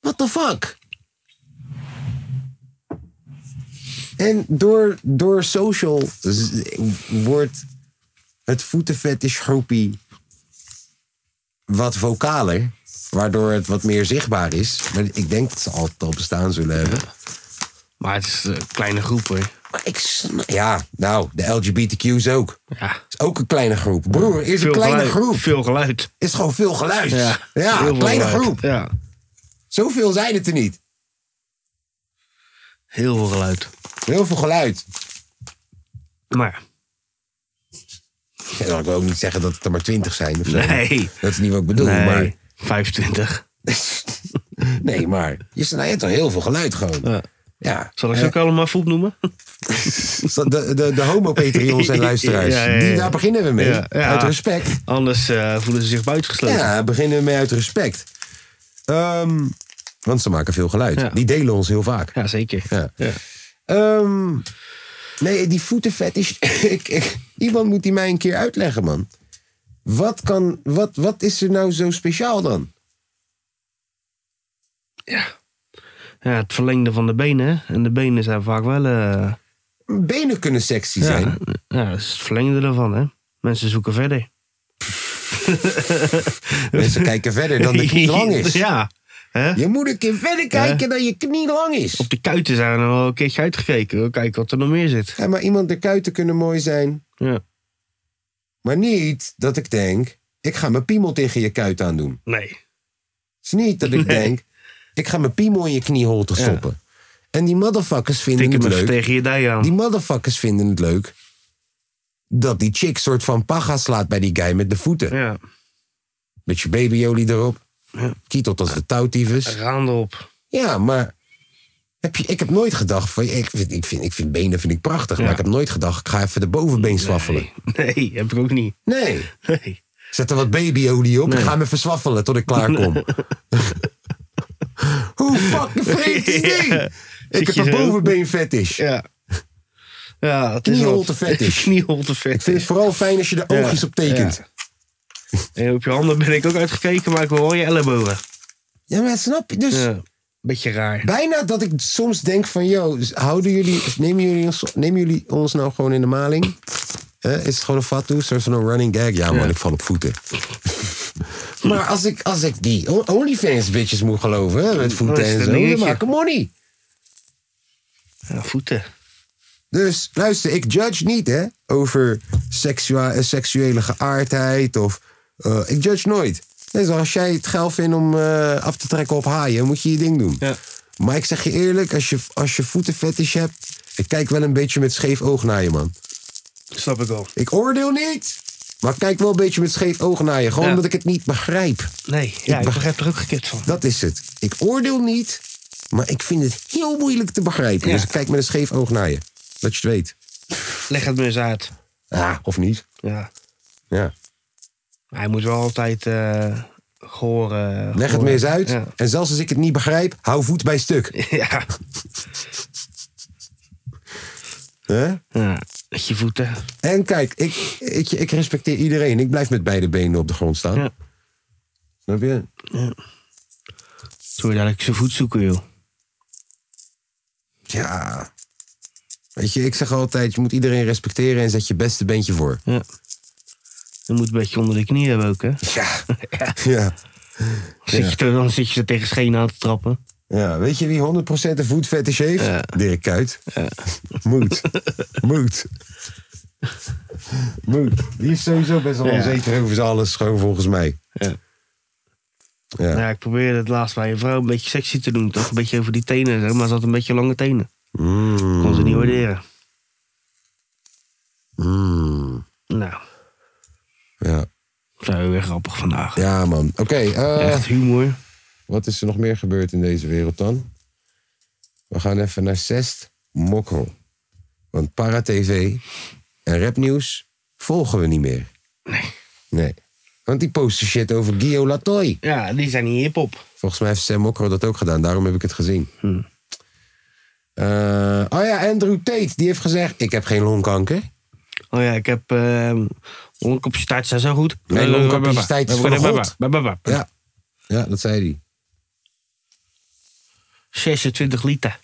Speaker 2: What the fuck? En door, door social z- wordt het voetenfetish groepie wat vocaler. Waardoor het wat meer zichtbaar is. Maar ik denk dat ze altijd al bestaan zullen hebben.
Speaker 3: Maar het is een kleine groep hoor.
Speaker 2: Maar ik sna- Ja, nou, de LGBTQ's ook.
Speaker 3: Ja.
Speaker 2: Is ook een kleine groep. Broer, is een kleine
Speaker 3: geluid.
Speaker 2: groep.
Speaker 3: Veel geluid.
Speaker 2: Is gewoon veel geluid. Ja,
Speaker 3: Heel veel
Speaker 2: kleine
Speaker 3: geluid.
Speaker 2: groep.
Speaker 3: Ja.
Speaker 2: Zoveel zijn het er niet.
Speaker 3: Heel veel geluid.
Speaker 2: Heel veel geluid.
Speaker 3: Maar
Speaker 2: Ja, dan wil ik ook niet zeggen dat het er maar 20 zijn. Of zo.
Speaker 3: nee.
Speaker 2: Dat is niet wat ik bedoel.
Speaker 3: nee.
Speaker 2: Maar,
Speaker 3: 25.
Speaker 2: nee, maar je, snapt- je hebt al heel veel geluid gewoon.
Speaker 3: Ja.
Speaker 2: Ja.
Speaker 3: Zal ik
Speaker 2: Eh,
Speaker 3: ze ook allemaal voep noemen?
Speaker 2: de, de, de homo-patriots en luisteraars.
Speaker 3: Ja, ja, ja.
Speaker 2: Die, daar beginnen we mee.
Speaker 3: Ja, ja.
Speaker 2: Uit respect.
Speaker 3: Anders eh, voelen ze zich buitengesloten.
Speaker 2: Ja, beginnen we mee uit respect. Ehm, want ze maken veel geluid.
Speaker 3: Ja.
Speaker 2: Die delen ons heel vaak.
Speaker 3: Ja, zeker.
Speaker 2: Ja.
Speaker 3: Ja.
Speaker 2: Ehm, nee, die voetenvet is. ik, ik- iemand moet die mij een keer uitleggen, man. Wat, kan, wat, wat is er nou zo speciaal dan?
Speaker 3: Ja, het verlengde van de benen. hè. En de benen zijn vaak wel... eh,
Speaker 2: Benen kunnen sexy zijn.
Speaker 3: Ja, ja, dat is het verlengde ervan, hè. Mensen zoeken verder.
Speaker 2: Mensen kijken verder dan de knie lang is.
Speaker 3: Ja. Hè?
Speaker 2: Je moet een keer verder kijken dan je knie lang is.
Speaker 3: Op de kuiten zijn we al een keertje uitgekeken. We kijken wat er nog meer zit.
Speaker 2: Ja, maar iemand, de kuiten kunnen mooi zijn.
Speaker 3: Ja.
Speaker 2: Maar niet dat ik denk, ik ga mijn piemel tegen je kuit aandoen.
Speaker 3: Nee.
Speaker 2: Het is niet dat ik denk, ik ga mijn piemel in je knieholte
Speaker 3: Ja.
Speaker 2: stoppen. En die motherfuckers vinden
Speaker 3: Tikken
Speaker 2: het
Speaker 3: me even
Speaker 2: leuk.
Speaker 3: tegen je dij aan.
Speaker 2: Die motherfuckers vinden het leuk dat die chick soort van paga slaat bij die guy met de voeten.
Speaker 3: Ja.
Speaker 2: Met je babyolie erop. Kietelt als de touwtyfus.
Speaker 3: Raam erop.
Speaker 2: Ja, maar heb je, ik heb nooit gedacht van, ik vind, ik vind, ik vind benen vind ik prachtig.
Speaker 3: Ja.
Speaker 2: Maar ik heb nooit gedacht, ik ga even de bovenbeen
Speaker 3: Nee.
Speaker 2: swaffelen.
Speaker 3: nee, heb ik ook niet.
Speaker 2: Nee.
Speaker 3: Nee.
Speaker 2: Zet er wat babyolie op
Speaker 3: Nee.
Speaker 2: en ga me even swaffelen tot ik klaar kom. Hoe fucking vreemd is dit?
Speaker 3: Ja.
Speaker 2: Ik
Speaker 3: Zit
Speaker 2: heb
Speaker 3: je
Speaker 2: een
Speaker 3: zo?
Speaker 2: bovenbeen fetish.
Speaker 3: Ja. Ja, het is
Speaker 2: Knieholte fetish.
Speaker 3: Knieholte
Speaker 2: Ik vind het vooral fijn als je er
Speaker 3: Ja.
Speaker 2: oogjes op tekent. Ja.
Speaker 3: En op je handen ben ik ook uitgekeken, maar ik wil wel je ellebogen.
Speaker 2: maar snap je? Dus
Speaker 3: Ja. Beetje raar.
Speaker 2: bijna dat ik soms denk van... Yo, houden jullie, nemen, jullie ons, nemen jullie ons nou gewoon in de maling? Eh, is het gewoon een fatu? Soort van een running gag? Ja man,
Speaker 3: Ja.
Speaker 2: ik val op voeten. maar als ik, als ik die on- OnlyFans bitches moet geloven... hè, met
Speaker 3: Dan
Speaker 2: voeten
Speaker 3: is
Speaker 2: en
Speaker 3: het
Speaker 2: zo,
Speaker 3: een
Speaker 2: dan
Speaker 3: dingetje.
Speaker 2: maken money.
Speaker 3: Ja, voeten.
Speaker 2: Dus luister, ik judge niet hè, over seksua- eh, seksuele geaardheid of. eh, ik judge nooit. Nee, zo, als jij het geil vindt om eh, af te trekken op haaien, moet je je ding doen.
Speaker 3: Ja.
Speaker 2: Maar ik zeg je eerlijk, als je, als je voeten fetish hebt, ik kijk wel een beetje met scheef oog naar je, man.
Speaker 3: Snap ik wel.
Speaker 2: Ik oordeel niet, maar ik kijk wel een beetje met scheef oog naar je. Gewoon
Speaker 3: Ja.
Speaker 2: omdat ik het niet begrijp.
Speaker 3: Nee, ja,
Speaker 2: Ik
Speaker 3: ik
Speaker 2: beg-
Speaker 3: begrijp er ook gekut van.
Speaker 2: Dat is het. Ik oordeel niet, maar ik vind het heel moeilijk te begrijpen.
Speaker 3: Ja.
Speaker 2: Dus ik kijk met een scheef oog naar je. Dat je het weet.
Speaker 3: Leg het me eens uit.
Speaker 2: Ah, of niet.
Speaker 3: Ja.
Speaker 2: Ja.
Speaker 3: Maar Hij moet wel altijd eh gehoren.
Speaker 2: Leg het
Speaker 3: gehoor-
Speaker 2: me eens uit.
Speaker 3: Ja.
Speaker 2: En zelfs als ik het niet begrijp, hou voet bij stuk.
Speaker 3: ja.
Speaker 2: Hè?
Speaker 3: Ja. Met je voeten.
Speaker 2: En kijk, ik, ik, ik respecteer iedereen. Ik blijf met beide benen op de grond staan.
Speaker 3: Ja.
Speaker 2: Snap je?
Speaker 3: Toen je dadelijk zijn voet zoeken, joh.
Speaker 2: Ja. Weet je, ik zeg altijd, je moet iedereen respecteren en zet je beste beentje voor.
Speaker 3: Ja. Je moet een beetje onder de knie hebben ook, hè?
Speaker 2: Ja. ja.
Speaker 3: Zit je er, dan zit je er tegen schenen aan te trappen.
Speaker 2: Ja, weet je wie 100% een voetfetish heeft?
Speaker 3: Ja.
Speaker 2: Dirk Kuyt. Moed. Moed. Moed. Die is sowieso best wel
Speaker 3: Ja.
Speaker 2: onzeker over zijn alles, gewoon volgens mij.
Speaker 3: Ja.
Speaker 2: Ja.
Speaker 3: Ja, ik probeerde het laatst bij een vrouw een beetje sexy te doen, toch? Een beetje over die tenen, zeg maar ze had een beetje lange tenen.
Speaker 2: Mm.
Speaker 3: Kon ze niet waarderen.
Speaker 2: Mm.
Speaker 3: Nou,
Speaker 2: Ja.
Speaker 3: zo weer grappig vandaag.
Speaker 2: ja, man. Oké, eh,
Speaker 3: Echt humor.
Speaker 2: wat is er nog meer gebeurd in deze wereld dan? We gaan even naar Zest Mokro. Want Para TV en rapnieuws volgen we niet meer. Nee. Nee. Want die posten shit over Guillaume Latoy.
Speaker 3: Ja, die zijn niet hip-hop.
Speaker 2: Volgens mij heeft Sam Mokro dat ook gedaan. Daarom heb ik het gezien.
Speaker 3: Hm.
Speaker 2: Eh, oh ja, Andrew Tate. Die heeft gezegd, ik heb geen longkanker.
Speaker 3: Oh ja, ik heb. Uh, longcapaciteit zijn zo goed. Eh,
Speaker 2: Mijn longcapaciteit is van God.
Speaker 3: Ja.
Speaker 2: Ja. ja, dat zei hij.
Speaker 3: 26 liter.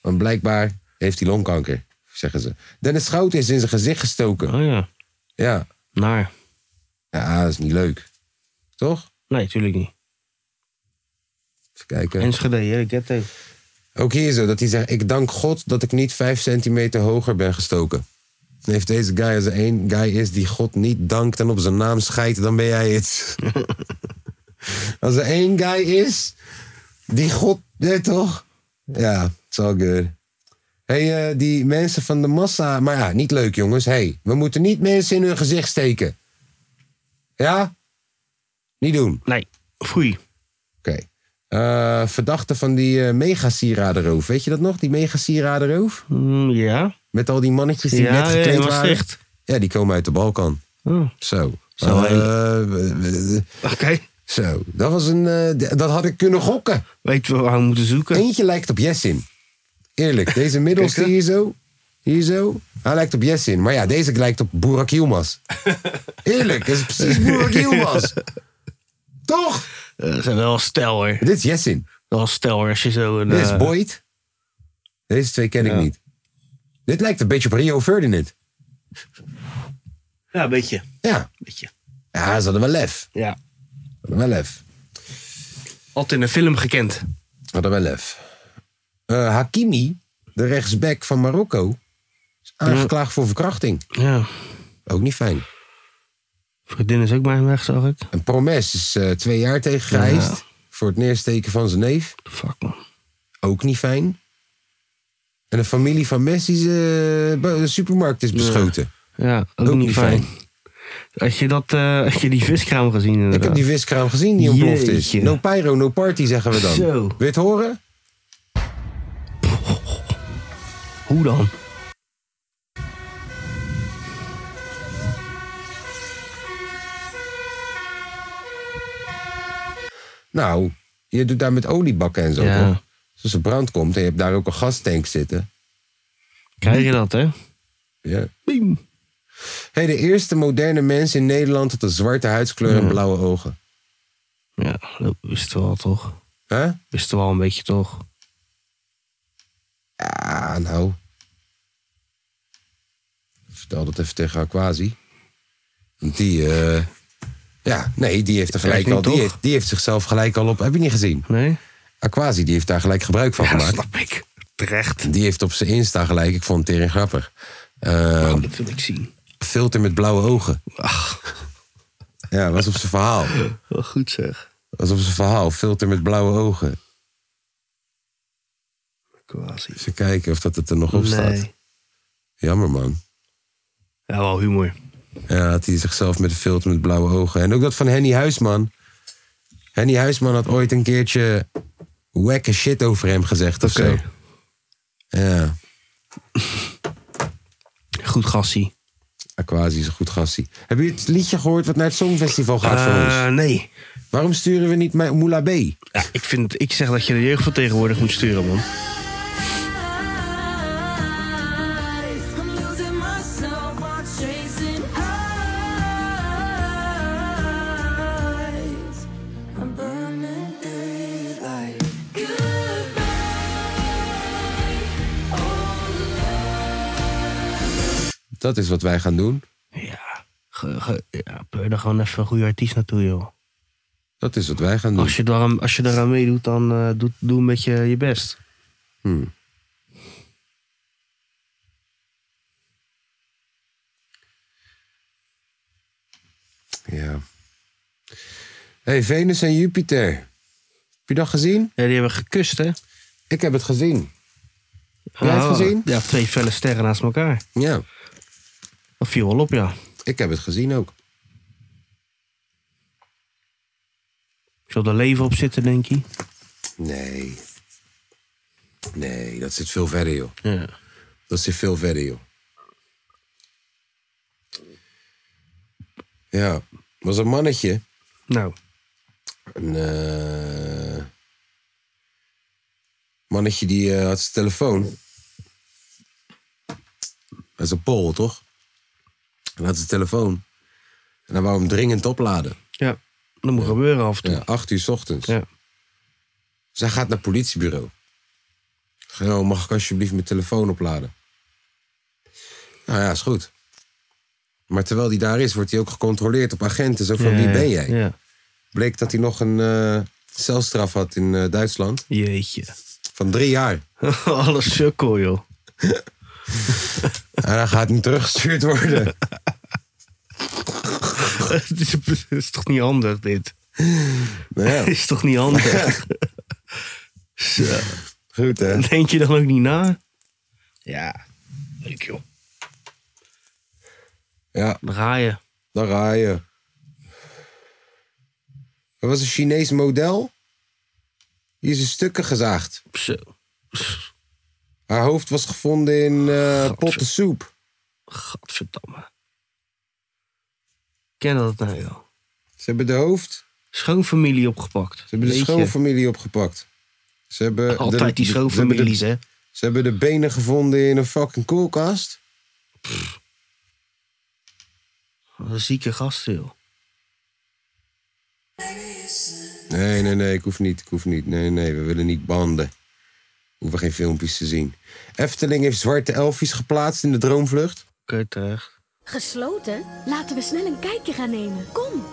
Speaker 2: Want blijkbaar heeft hij longkanker, zeggen ze. Dennis Schouten is in zijn gezicht gestoken.
Speaker 3: Oh ja.
Speaker 2: Ja.
Speaker 3: Naar.
Speaker 2: Ja, dat is niet leuk. Toch?
Speaker 3: Nee, tuurlijk niet.
Speaker 2: Even kijken.
Speaker 3: Enschede, hè, ik heb het ook.
Speaker 2: Ook hier zo, dat hij zegt... Ik dank God dat ik niet vijf centimeter hoger ben gestoken. En heeft deze guy, als er één guy is die God niet dankt... en op zijn naam scheidt, dan ben jij het. als er één guy is die God... Nee, toch? Ja, it's all good. hey, eh, die mensen van de massa. Maar ja, niet leuk jongens. hey, we moeten niet mensen in hun gezicht steken. Ja? Niet doen.
Speaker 3: Nee, foei.
Speaker 2: Oké. Eh, verdachte van die eh mega sieradenroof. Weet je dat nog? Die mega sieradenroof?
Speaker 3: Mm, ja.
Speaker 2: Met al die mannetjes die
Speaker 3: Ja,
Speaker 2: net gekleed
Speaker 3: in
Speaker 2: waren.
Speaker 3: Maastricht.
Speaker 2: Ja, die komen uit de Balkan.
Speaker 3: Oh.
Speaker 2: Zo.
Speaker 3: Zo,
Speaker 2: Eh, eh, eh,
Speaker 3: Oké.
Speaker 2: zo. Dat was een. eh, d- dat had ik kunnen gokken.
Speaker 3: Weten we waar we moeten zoeken?
Speaker 2: Eentje lijkt op Jessin. Eerlijk, deze middelste
Speaker 3: Kikken.
Speaker 2: hier zo. Hier zo. Hij lijkt op Jessin. Maar ja, deze lijkt op Boerak Yilmaz. Eerlijk, dat is precies Boerak Yilmaz. Toch?
Speaker 3: Eh, Dat zijn wel stel hoor.
Speaker 2: Dit is Jessin.
Speaker 3: Wel stel hoor, als je zo een...
Speaker 2: Dit is
Speaker 3: eh,
Speaker 2: Boyd. Deze twee ken ik
Speaker 3: Ja.
Speaker 2: niet. Dit lijkt een beetje op Rio Ferdinand.
Speaker 3: Ja, een beetje.
Speaker 2: Ja.
Speaker 3: beetje.
Speaker 2: Ja, ze hadden wel lef.
Speaker 3: Ja.
Speaker 2: Ze hadden wel lef.
Speaker 3: Altijd in een film gekend.
Speaker 2: Hadden wel lef. Eh, Hakimi, de rechtsback van Marokko, is aangeklaagd voor verkrachting.
Speaker 3: Ja.
Speaker 2: Ook niet fijn.
Speaker 3: Vriendin is ook bij hem weg, zag ik.
Speaker 2: En Promes is eh, twee jaar tegen geëist. Voor het neersteken van zijn neef.
Speaker 3: Fuck man.
Speaker 2: Ook niet fijn. En de familie van Messi's eh, bu- de supermarkt is beschoten.
Speaker 3: Ja, ook, niet fijn. Als je, dat, eh als je die viskraam gezien
Speaker 2: Ik heb
Speaker 3: inderdaad.
Speaker 2: die viskraam gezien die ontploft is.
Speaker 3: Jeetje.
Speaker 2: No pyro, no party zeggen we dan.
Speaker 3: Zo.
Speaker 2: Wil je het horen?
Speaker 3: Hoe dan?
Speaker 2: Nou, je doet daar met oliebakken en zo.
Speaker 3: Ja.
Speaker 2: toch? Dus als er brand komt en je hebt daar ook een gastank zitten.
Speaker 3: Krijg je dat, hè?
Speaker 2: Ja.
Speaker 3: Biem.
Speaker 2: Hey, de eerste moderne mens in Nederland tot een zwarte huidskleur
Speaker 3: Hmm.
Speaker 2: en blauwe ogen.
Speaker 3: Ja, dat wisten we al toch.
Speaker 2: Huh?
Speaker 3: Wisten we al een beetje toch.
Speaker 2: Ah, nou. Ik Vertel dat even tegen Aquasi. Want die, eh, ja, nee, die heeft er
Speaker 3: Krijg
Speaker 2: gelijk
Speaker 3: je
Speaker 2: al. Die
Speaker 3: toch?
Speaker 2: heeft, die heeft zichzelf gelijk al op. Heb je niet gezien?
Speaker 3: Nee?
Speaker 2: Aquasi, die heeft daar gelijk gebruik van
Speaker 3: Ja,
Speaker 2: gemaakt.
Speaker 3: snap ik. Terecht.
Speaker 2: Die heeft op zijn Insta gelijk, ik vond het tering grappig. Eh,
Speaker 3: Oh, dat wil ik zien.
Speaker 2: filter met blauwe ogen. Ja, was op zijn verhaal.
Speaker 3: Wel goed zeg.
Speaker 2: Was op zijn verhaal, filter met blauwe ogen.
Speaker 3: Quasi.
Speaker 2: Even kijken of dat het er nog op staat.
Speaker 3: Nee.
Speaker 2: Jammer man.
Speaker 3: Ja, wel humor.
Speaker 2: Ja, had hij zichzelf met een filter met blauwe ogen. En ook dat van Henny Huisman. Henny Huisman had ooit een keertje wacke shit over hem gezegd of
Speaker 3: Oké.
Speaker 2: zo. Ja,
Speaker 3: Goed gassie.
Speaker 2: Aquasi is een goed gastie. Hebben jullie het liedje gehoord wat naar het Songfestival gaat voor
Speaker 3: Eh,
Speaker 2: ons?
Speaker 3: nee.
Speaker 2: Waarom sturen we niet Ma- Moula B?
Speaker 3: Ja, ik, vind, ik zeg dat je de jeugd van tegenwoordig moet sturen, man.
Speaker 5: I'm losing myself while chasing eyes. I'm burning daylight. Goodbye, old
Speaker 2: Dat is wat wij gaan doen.
Speaker 3: Ja. Ge, ge- ja, pleur er gewoon even een goede artiest naartoe, joh.
Speaker 2: Dat is wat wij gaan doen.
Speaker 3: Als je, daaraan, als je daaraan meedoet, dan eh, doe, doe een beetje je best.
Speaker 2: Ja. hey, Venus en Jupiter. Heb je dat gezien?
Speaker 3: Ja, die hebben gekust, hè?
Speaker 2: Ik heb het gezien. Jij hebt het gezien?
Speaker 3: Ja, twee felle sterren naast elkaar.
Speaker 2: Ja,
Speaker 3: Dat viel wel op, ja.
Speaker 2: ik heb het gezien ook.
Speaker 3: Ik zal er leven op zitten, denk je.
Speaker 2: Nee. Nee, dat zit veel verder, joh.
Speaker 3: Ja.
Speaker 2: Dat zit veel verder, joh. Ja, was een mannetje.
Speaker 3: Nou,
Speaker 2: Een eh, mannetje die eh, had zijn telefoon. Dat is een Pool, toch? En had zijn telefoon. En dan wou hem dringend opladen.
Speaker 3: ja. Dat moet gebeuren af en toe.
Speaker 2: Ja, acht uur 's ochtends.
Speaker 3: Ja.
Speaker 2: Zij gaat naar het politiebureau. Zeg, "Yo, mag ik alsjeblieft mijn telefoon opladen? Nou ja, is goed. Maar terwijl die daar is, wordt hij ook gecontroleerd op agenten. Zo van,
Speaker 3: Ja,
Speaker 2: wie
Speaker 3: ja,
Speaker 2: ben jij?
Speaker 3: Ja.
Speaker 2: Bleek dat hij nog een eh, celstraf had in eh, Duitsland.
Speaker 3: Jeetje.
Speaker 2: Van drie jaar.
Speaker 3: Alles sukkel, joh.
Speaker 2: En hij gaat niet teruggestuurd worden.
Speaker 3: Het is, het is toch niet handig, dit?
Speaker 2: nou
Speaker 3: Het
Speaker 2: ja,
Speaker 3: is toch niet handig? Zo.
Speaker 2: goed hè.
Speaker 3: Denk je dan ook niet na? Ja. Leuk joh.
Speaker 2: Ja,
Speaker 3: Daar ga je.
Speaker 2: daar ga je. Er was een Chinees model. Die is in stukken gezaagd.
Speaker 3: Zo.
Speaker 2: Haar hoofd was gevonden in eh
Speaker 3: Gadver-
Speaker 2: potten soep.
Speaker 3: Gadverdamme. Ken dat nou joh.
Speaker 2: Ze hebben de hoofd,
Speaker 3: Schoonfamilie opgepakt.
Speaker 2: ze hebben de
Speaker 3: Weet je.
Speaker 2: schoonfamilie opgepakt. Ze hebben de,
Speaker 3: Altijd die
Speaker 2: de- ze hebben de-
Speaker 3: schoonfamilies hè.
Speaker 2: Ze hebben de benen gevonden in een fucking koelkast.
Speaker 3: Wat een zieke gasten joh.
Speaker 2: Nee, nee, nee, ik hoef niet, ik hoef niet. Nee, nee, we willen niet banden. We hoeven geen filmpjes te zien. Efteling heeft zwarte elfjes geplaatst in de droomvlucht.
Speaker 3: Oké, terecht.
Speaker 6: Gesloten? Laten we snel een kijkje gaan nemen. Kom!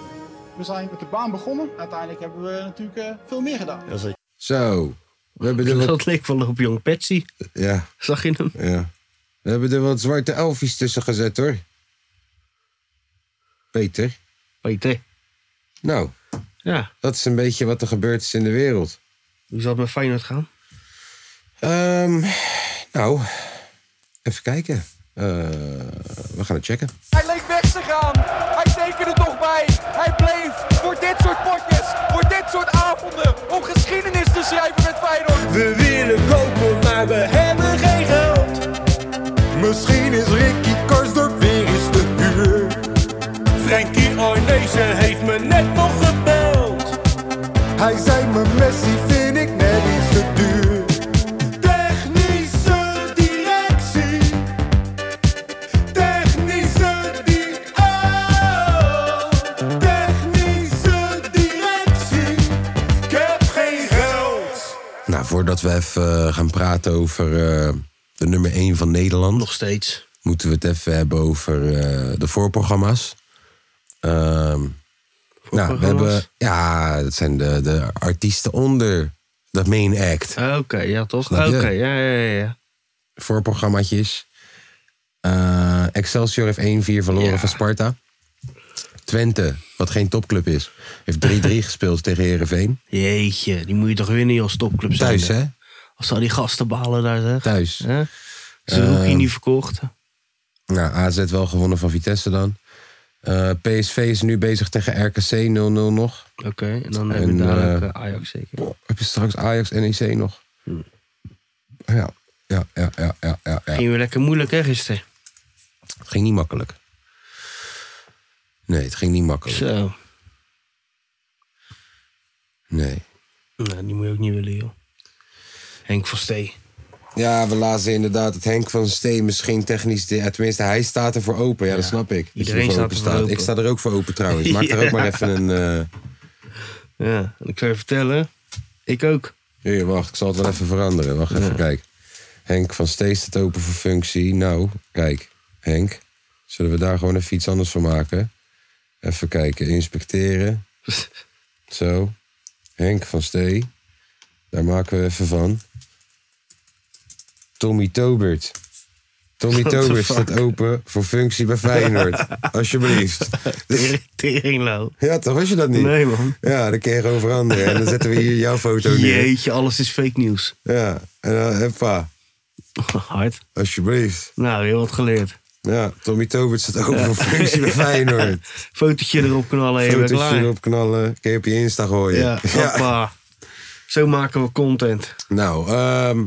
Speaker 7: We zijn met de baan begonnen. Uiteindelijk hebben we natuurlijk eh, veel meer gedaan.
Speaker 2: Zo, we hebben er wat...
Speaker 3: Dat leek wel op Jong Patsy.
Speaker 2: Ja,
Speaker 3: Zag je hem?
Speaker 2: ja. We hebben er wat zwarte elfjes tussen gezet, hoor. Peter.
Speaker 3: Peter.
Speaker 2: Nou,
Speaker 3: Ja.
Speaker 2: dat is een beetje wat er gebeurd is in de wereld.
Speaker 3: Hoe zal het met Feyenoord gaan?
Speaker 2: Ehm, nou, even kijken. Eh, we gaan het checken.
Speaker 8: Hij leek weg te gaan. Hij tekende toch bij. Hij bleef voor dit soort potjes, voor dit soort avonden, om geschiedenis te schrijven met Feyenoord.
Speaker 9: We willen kopen, maar we hebben geen geld. Misschien is Ricky Karsdorp weer eens te huur. Frankie Arnezen heeft me net nog gebeld.
Speaker 10: Hij zei me Messi vind ik net iets te duur. Technische directie. Technische di- oh. Technische directie. Ik heb geen geld.
Speaker 2: Nou, voordat we even eh, gaan praten over eh, de nummer 1 van Nederland,
Speaker 3: Nog steeds.
Speaker 2: moeten we het even hebben over eh, de voorprogramma's. Ehm, nou, we
Speaker 3: Voorprogramma's?
Speaker 2: hebben. Ja, dat zijn de, de artiesten onder dat main act.
Speaker 3: Ah, Oké, ja toch?
Speaker 2: Snap
Speaker 3: Oké,
Speaker 2: je?
Speaker 3: ja, ja, ja, ja.
Speaker 2: Voorprogrammaatjes. Eh, Excelsior heeft 1-4 verloren
Speaker 3: Ja.
Speaker 2: van Sparta. Twente, wat geen topclub is, heeft 3-3 gespeeld tegen Herenveen.
Speaker 3: Jeetje, die moet je toch winnen als topclub zijn.
Speaker 2: Thuis, hè?
Speaker 3: Als al die gasten balen daar zeg.
Speaker 2: Thuis. Ehm.
Speaker 3: Hè? Ze rookie niet verkocht.
Speaker 2: Nou, AZ wel gewonnen van Vitesse dan. Eh, PSV is nu bezig tegen RKC 0-0 nog.
Speaker 3: Oké, en dan heb je
Speaker 2: En,
Speaker 3: dadelijk
Speaker 2: eh,
Speaker 3: eh, Ajax zeker.
Speaker 2: Oh, heb je straks Ajax NEC nog? Ja, ja, ja, ja, ja, ja, ja.
Speaker 3: Ging weer lekker moeilijk hè gisteren.
Speaker 2: Het ging niet makkelijk. Nee, het ging niet makkelijk.
Speaker 3: Zo.
Speaker 2: Nee.
Speaker 3: Nou, die moet je ook niet willen joh. Henk van Stee.
Speaker 2: Ja, we lazen inderdaad dat Henk van Steen misschien technisch... de- ja, tenminste, hij staat ervoor open. Ja, dat snap ik. Dat je
Speaker 3: Iedereen staat ervoor open.
Speaker 2: Ik sta er ook voor open trouwens. Maak er ook maar even een... eh,
Speaker 3: Ja, en ik zou je vertellen. Ik ook.
Speaker 2: Hier, wacht. Ik zal het wel even veranderen. Wacht even, kijk. Henk van Steen staat open voor functie. Nou, kijk. Henk, zullen we daar gewoon even iets anders van maken? Even kijken. Inspecteren. Zo. Henk van Stee. Daar maken we even van. Tommy Tobert. Tommy
Speaker 3: What the
Speaker 2: Tobert
Speaker 3: fuck?
Speaker 2: staat open voor functie bij Feyenoord. Alsjeblieft.
Speaker 3: Tering nou.
Speaker 2: Ja, toch was je dat niet?
Speaker 3: Nee man.
Speaker 2: Ja, dan kun je gewoon veranderen. En dan zetten we hier jouw foto neer.
Speaker 3: Jeetje, alles is fake nieuws.
Speaker 2: Ja, en dan, hoppa,
Speaker 3: Hard.
Speaker 2: alsjeblieft.
Speaker 3: Nou, heel wat geleerd.
Speaker 2: Ja, Tommy Tobert staat open voor functie bij Feyenoord.
Speaker 3: Fotootje erop knallen, helemaal
Speaker 2: Fotootje
Speaker 3: klaar.
Speaker 2: erop knallen, kun je op je Insta gooien.
Speaker 3: Ja, hoppa. Zo maken we content.
Speaker 2: Nou, ehm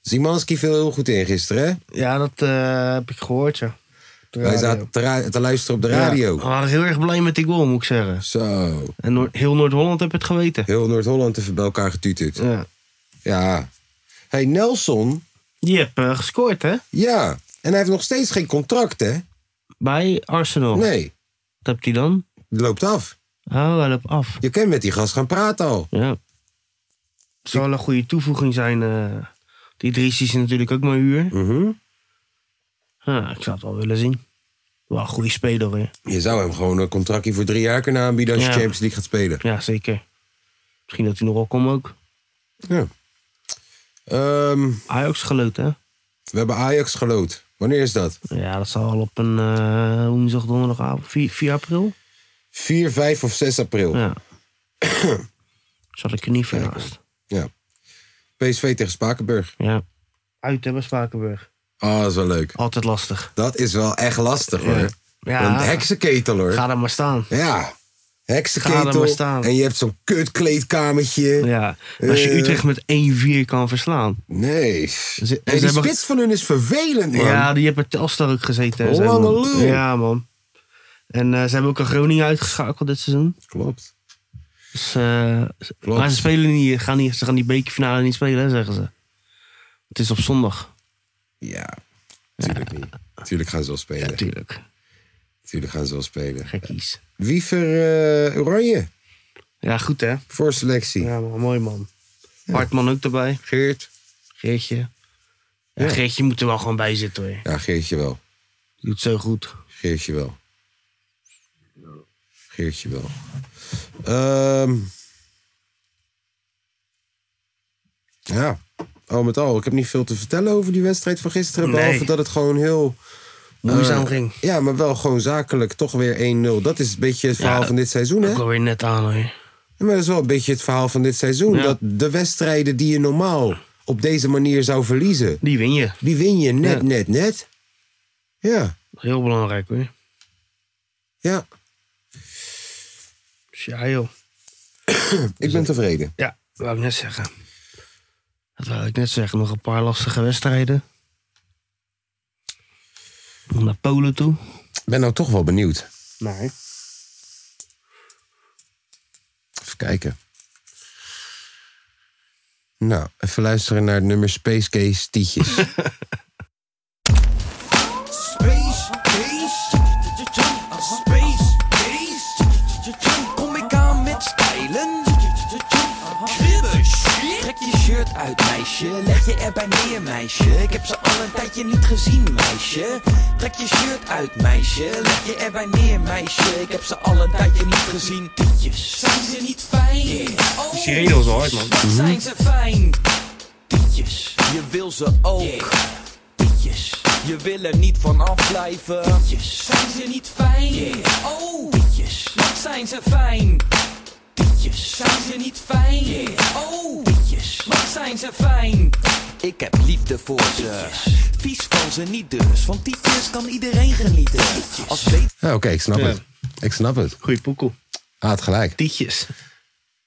Speaker 2: Zimanski viel heel goed in gisteren, hè?
Speaker 3: Ja, dat eh, heb ik gehoord, ja. Op de
Speaker 2: Wij
Speaker 3: radio.
Speaker 2: zaten te, ra- te luisteren op de radio.
Speaker 3: Ja, we waren heel erg blij met die goal, moet ik zeggen.
Speaker 2: Zo,
Speaker 3: En Noor- heel Noord-Holland heb het geweten.
Speaker 2: heel Noord-Holland even bij elkaar getuterd.
Speaker 3: Ja.
Speaker 2: Ja. Hey, Nelson,
Speaker 3: Die heb eh, gescoord, hè?
Speaker 2: ja. En hij heeft nog steeds geen contract, hè?
Speaker 3: Bij Arsenal.
Speaker 2: Nee,
Speaker 3: Wat hebt hij dan?
Speaker 2: het loopt af.
Speaker 3: Oh, hij loopt af.
Speaker 2: Je kan met die gast gaan praten al.
Speaker 3: Ja. Het zou wel een goede toevoeging zijn. eh die Dries is natuurlijk ook maar huur.
Speaker 2: Mhm.
Speaker 3: Ja, ik zou het wel willen zien. Wel een goede speler weer.
Speaker 2: Je zou hem gewoon een contractje voor drie jaar kunnen aanbieden als je
Speaker 3: Ja.
Speaker 2: Champions League gaat spelen.
Speaker 3: Ja, zeker. Misschien dat hij nog wel komt ook.
Speaker 2: Ja. Ehm,
Speaker 3: Ajax geloot, hè?
Speaker 2: we hebben Ajax gelood. Wanneer is dat?
Speaker 3: Ja, dat zal al op een eh, woensdag, donderdagavond, 4, 4 april.
Speaker 2: 4, 5 of 6 april.
Speaker 3: Ja. Zat ik er niet vernaast.
Speaker 2: Ja. PSV tegen Spakenburg.
Speaker 3: Ja. Uit, hè, bij Spakenburg.
Speaker 2: Oh, dat is wel leuk.
Speaker 3: Altijd lastig.
Speaker 2: Dat is wel echt lastig hoor.
Speaker 3: Ja.
Speaker 2: Een heksenketel hoor.
Speaker 3: Ga daar maar staan.
Speaker 2: Ja,
Speaker 3: Ga er maar
Speaker 2: heksenketel.
Speaker 3: staan.
Speaker 2: En je hebt zo'n kutkleedkamertje.
Speaker 3: Ja. Als je
Speaker 2: Eh.
Speaker 3: Utrecht met 1-4 kan verslaan.
Speaker 2: Nee.
Speaker 3: ze
Speaker 2: En die
Speaker 3: hebben-
Speaker 2: spits van hun is vervelend man.
Speaker 3: Ja, die hebben bij Telstar ook gezeten. en zo,
Speaker 2: Lange
Speaker 3: man.
Speaker 2: lul.
Speaker 3: Ja, man. En eh, ze hebben ook een Groningen uitgeschakeld dit seizoen.
Speaker 2: Klopt.
Speaker 3: Dus, eh,
Speaker 2: Klopt.
Speaker 3: Maar ze, spelen niet, gaan niet, ze gaan die bekerfinale niet spelen, hè, zeggen ze. Het is op zondag.
Speaker 2: Ja, tuurlijk niet. Tuurlijk gaan ze wel spelen.
Speaker 3: Natuurlijk.
Speaker 2: tuurlijk gaan ze wel spelen.
Speaker 3: Gekkies.
Speaker 2: Wiever eh, Oranje
Speaker 3: Ja, goed hè.
Speaker 2: voor selectie.
Speaker 3: Ja, man, mooi man. Hartman ook erbij.
Speaker 2: Geert.
Speaker 3: Geertje. Ja,
Speaker 2: Ja.
Speaker 3: Geertje moet er wel gewoon bij zitten hoor.
Speaker 2: Ja, Geertje wel.
Speaker 3: Doet zo goed.
Speaker 2: Geertje wel. Geertje wel. Ehm. ja, al met al. Ik heb niet veel te vertellen over die wedstrijd van gisteren.
Speaker 3: Nee.
Speaker 2: Behalve dat het gewoon heel...
Speaker 3: Moeizaam
Speaker 2: eh,
Speaker 3: ging.
Speaker 2: Ja, maar wel gewoon zakelijk toch weer 1-0. Dat is een beetje het verhaal
Speaker 3: Ja,
Speaker 2: van dit seizoen, hè?
Speaker 3: Ook alweer net aan hoor.
Speaker 2: Ja, Maar dat is wel een beetje het verhaal van dit seizoen.
Speaker 3: Ja.
Speaker 2: Dat de wedstrijden die je normaal op deze manier zou verliezen,
Speaker 3: Die win je.
Speaker 2: die win je net,
Speaker 3: Ja.
Speaker 2: net, net. Ja,
Speaker 3: Heel belangrijk hoor.
Speaker 2: ja.
Speaker 3: Dus ja joh.
Speaker 2: Ik ben tevreden.
Speaker 3: Ja, wou ik net zeggen. Dat wou ik net zeggen. Nog een paar lastige wedstrijden. Nog Naar Polen toe.
Speaker 2: Ik ben nou toch wel benieuwd.
Speaker 3: Nee.
Speaker 2: Even kijken. Nou, even luisteren naar het nummer Space Case Tietjes.
Speaker 1: Space Case. Space Case. Kom ik aan met stijlen. Kribben shit. Trek je shirt uit, meisje. Leg je erbij neer, meisje. Ik heb ze al een tijdje niet gezien, meisje. Trek je shirt uit, meisje. Leg je erbij neer, meisje. Ik heb ze al een tijdje niet gezien. Tietjes. Zijn ze niet fijn? Oh.
Speaker 3: Sirene was wel hard, man.
Speaker 1: Wat zijn ze fijn? Tietjes. Je wil ze ook. Tietjes. Je wil er niet van afblijven. Tietjes. Zijn ze niet fijn? Oh. Tietjes. Wat zijn ze fijn? Tietjes. Zijn ze niet fijn? Oh. Tietjes. Wat zijn ze fijn? Ik heb liefde voor ze. Vies van ze niet dus. Van tietjes kan iedereen genieten. Als weet
Speaker 2: Ja, Ah, Oké, ik snap het. Ik snap het.
Speaker 3: Goeie poekel.
Speaker 2: Hij had gelijk.
Speaker 3: Tietjes.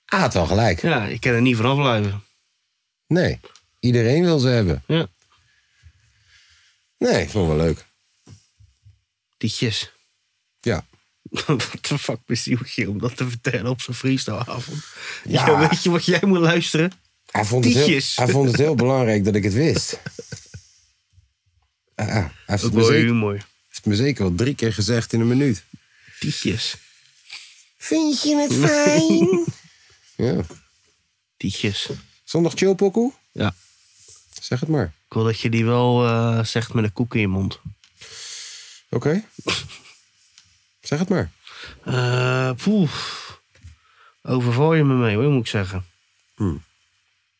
Speaker 2: Hij had wel gelijk.
Speaker 3: Ja, ik kan er niet vanaf blijven.
Speaker 2: Nee, iedereen wil ze hebben.
Speaker 3: Ja.
Speaker 2: Nee, ik vond het wel leuk.
Speaker 3: Tietjes.
Speaker 2: Ja.
Speaker 3: wat de fuck bezielt je om dat te vertellen op zo'n freestyleavond?
Speaker 2: Ja.
Speaker 3: Ja. weet je wat jij moet luisteren?
Speaker 2: Hij vond, het heel,
Speaker 3: Tietjes.
Speaker 2: hij vond het heel belangrijk dat ik het wist. Ah, ah, hij heeft het, me
Speaker 3: Mooi,
Speaker 2: zeker,
Speaker 3: humor.
Speaker 2: heeft me zeker wel drie keer gezegd in een minuut.
Speaker 3: Tietjes.
Speaker 2: Vind je het fijn? ja.
Speaker 3: Tietjes.
Speaker 2: Zondag chill, pokoe?
Speaker 3: Ja.
Speaker 2: Zeg het maar.
Speaker 3: Ik wil dat je die wel eh, zegt met een koek in je mond.
Speaker 2: Oké. zeg het maar.
Speaker 3: Eh, poeh. Overval je me mee, hoor, moet ik zeggen.
Speaker 2: Hmm.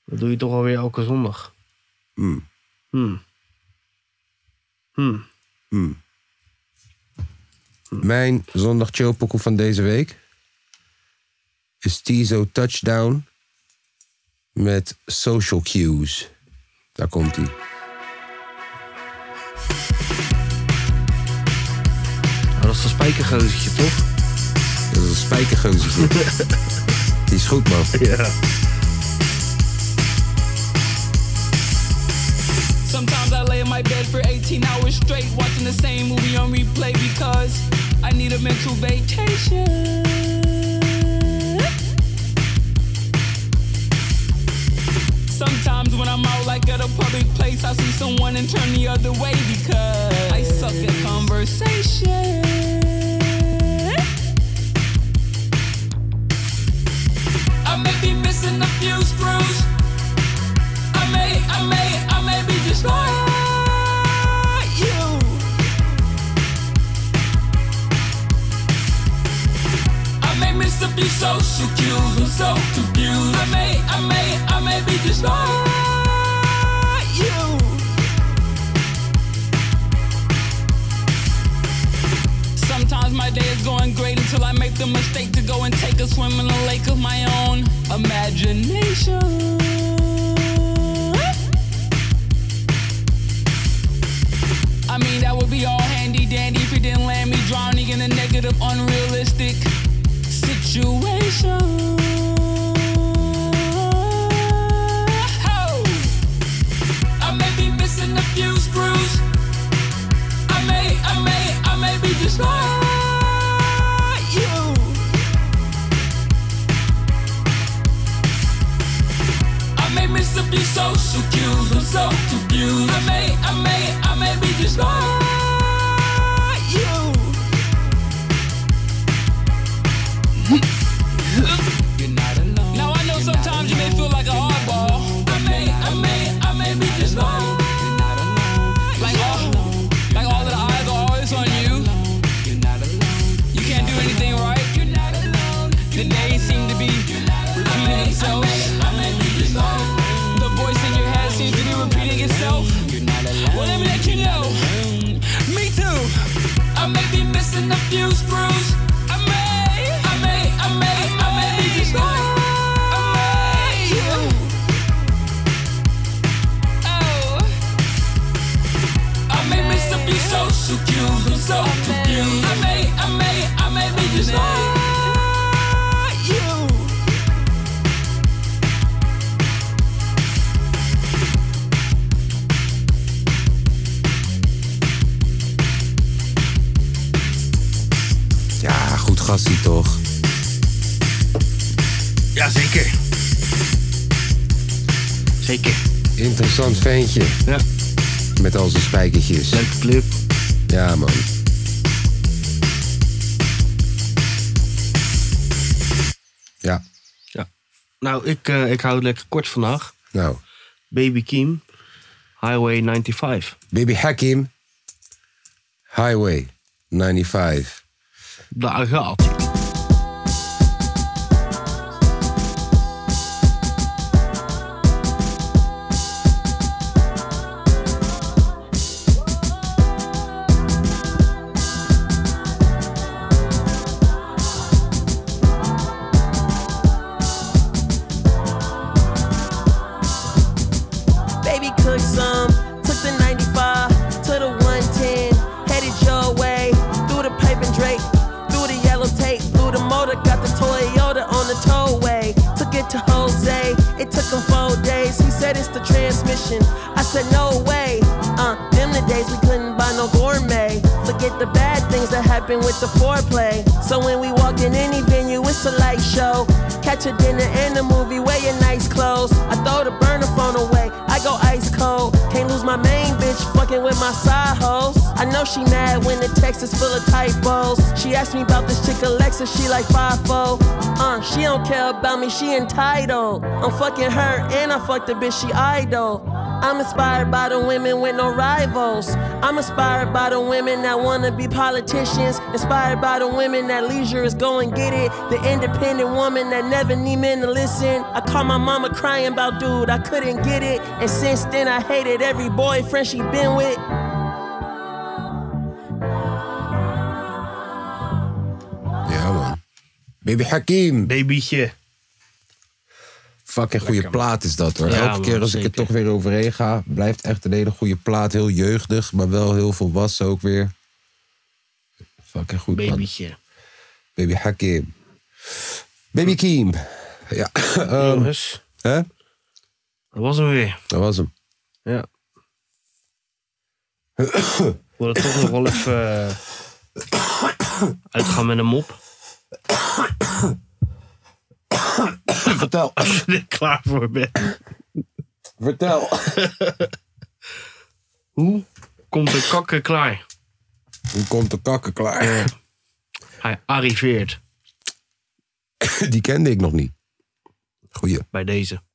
Speaker 3: Dat doe je toch alweer elke zondag.
Speaker 2: Hmm.
Speaker 3: Hmm. Hmm.
Speaker 2: Hmm. Mijn zondag chill pokoe van deze week is Tizo Touchdown met Social Cues. Daar komt hij.
Speaker 3: Nou, dat is een spijkergozertje, toch?
Speaker 2: Dat is een spijkergozertje. Die is goed, man.
Speaker 3: Ja.
Speaker 11: Sometimes I lay in my bed for 18 hours straight, watching the same movie on replay because I need a mental vacation. Sometimes when I'm out, like at a public place, I see someone and turn the other way because I suck at conversation. I may be missing a few screws. I may, I may, I may be just like you. I may miss a few social cues. I'm so confused. I may, I may, I may be just like you. Sometimes my day is going great until I make the mistake to go and take a swim in a lake of my own imagination. social cues. I'm so confused. I may, I may, I may be just like you. You're not alone. Now I know sometimes you may feel like a hardball. I may, I may, I may be just like. Like all, like all of the eyes are always on you. You're not alone. You can't do anything right. You're not alone. The days seem to be repeating themselves. The voice in your head seems to be repeating itself. Well, let me let you know. Me too. I may be missing a few screws. I may, I may, I may, I may be just like. I may. Oh. I may miss a few social cues. I'm so confused. I may, I may, I may be just like you.
Speaker 2: Ja, goed gastie toch.
Speaker 3: Jazeker. Zeker.
Speaker 2: Interessant ventje.
Speaker 3: Ja.
Speaker 2: Met al zijn spijkertjes. Leuke
Speaker 3: clip.
Speaker 2: Ja, man. Ja.
Speaker 3: Nou, ik, eh, ik hou het lekker kort vandaag.
Speaker 2: Nou.
Speaker 3: Baby Kim, Highway 95.
Speaker 2: Baby Hakim, Highway 95.
Speaker 3: Daar gaat.
Speaker 12: Baby cooked some, took the 95 to the 110, headed your way. Through the pipe and drape, through the yellow tape, blew the motor, got the Toyota on the tollway. Took it to Jose, it took him four days. He said it's the transmission. I said, no way. Uh, them the days we couldn't buy no gourmet. Forget the bad things that happened with the foreplay. So when we walk in any venue, it's a light show. Catch a dinner and a movie, wear your nice clothes. I throw the burner phone away, I go ice cold. Can't lose my main bitch, fucking with my side hoes. I know she mad when the text is full of typos. She asked me about this chick Alexa, she like 5 Uh, she don't care about me, she entitled. I'm fucking her and I fucked the bitch, she idol. I'm inspired by the women with no rivals. I'm inspired by the women that wanna be politicians. Inspired by the women that leisure is go and get it. The independent woman that never need men to listen. I call my mama crying about dude, I couldn't get it. And since then I hated every boyfriend she been with.
Speaker 2: Ja, man. Baby Hakim.
Speaker 3: Babytje.
Speaker 2: Fucking goede plaat is dat hoor.
Speaker 3: Ja,
Speaker 2: Elke
Speaker 3: man,
Speaker 2: keer als ik er toch weer overheen ga, blijft echt een hele goede plaat. Heel jeugdig, maar wel heel volwassen ook weer. Fucking goed, man.
Speaker 3: Babytje.
Speaker 2: Baby Hakim. Baby Kim. Ja. ehm, hè?
Speaker 3: Dat was hem weer.
Speaker 2: Dat was hem.
Speaker 3: Ja. We willen toch nog wel even eh, uitgaan met een mop.
Speaker 2: Vertel.
Speaker 3: Als je er klaar voor bent.
Speaker 2: Vertel.
Speaker 3: Hoe komt de kakker klaar?
Speaker 2: Hoe komt de kakker klaar?
Speaker 3: Hij arriveert
Speaker 2: Die kende ik nog niet. Goeie.
Speaker 3: bij deze.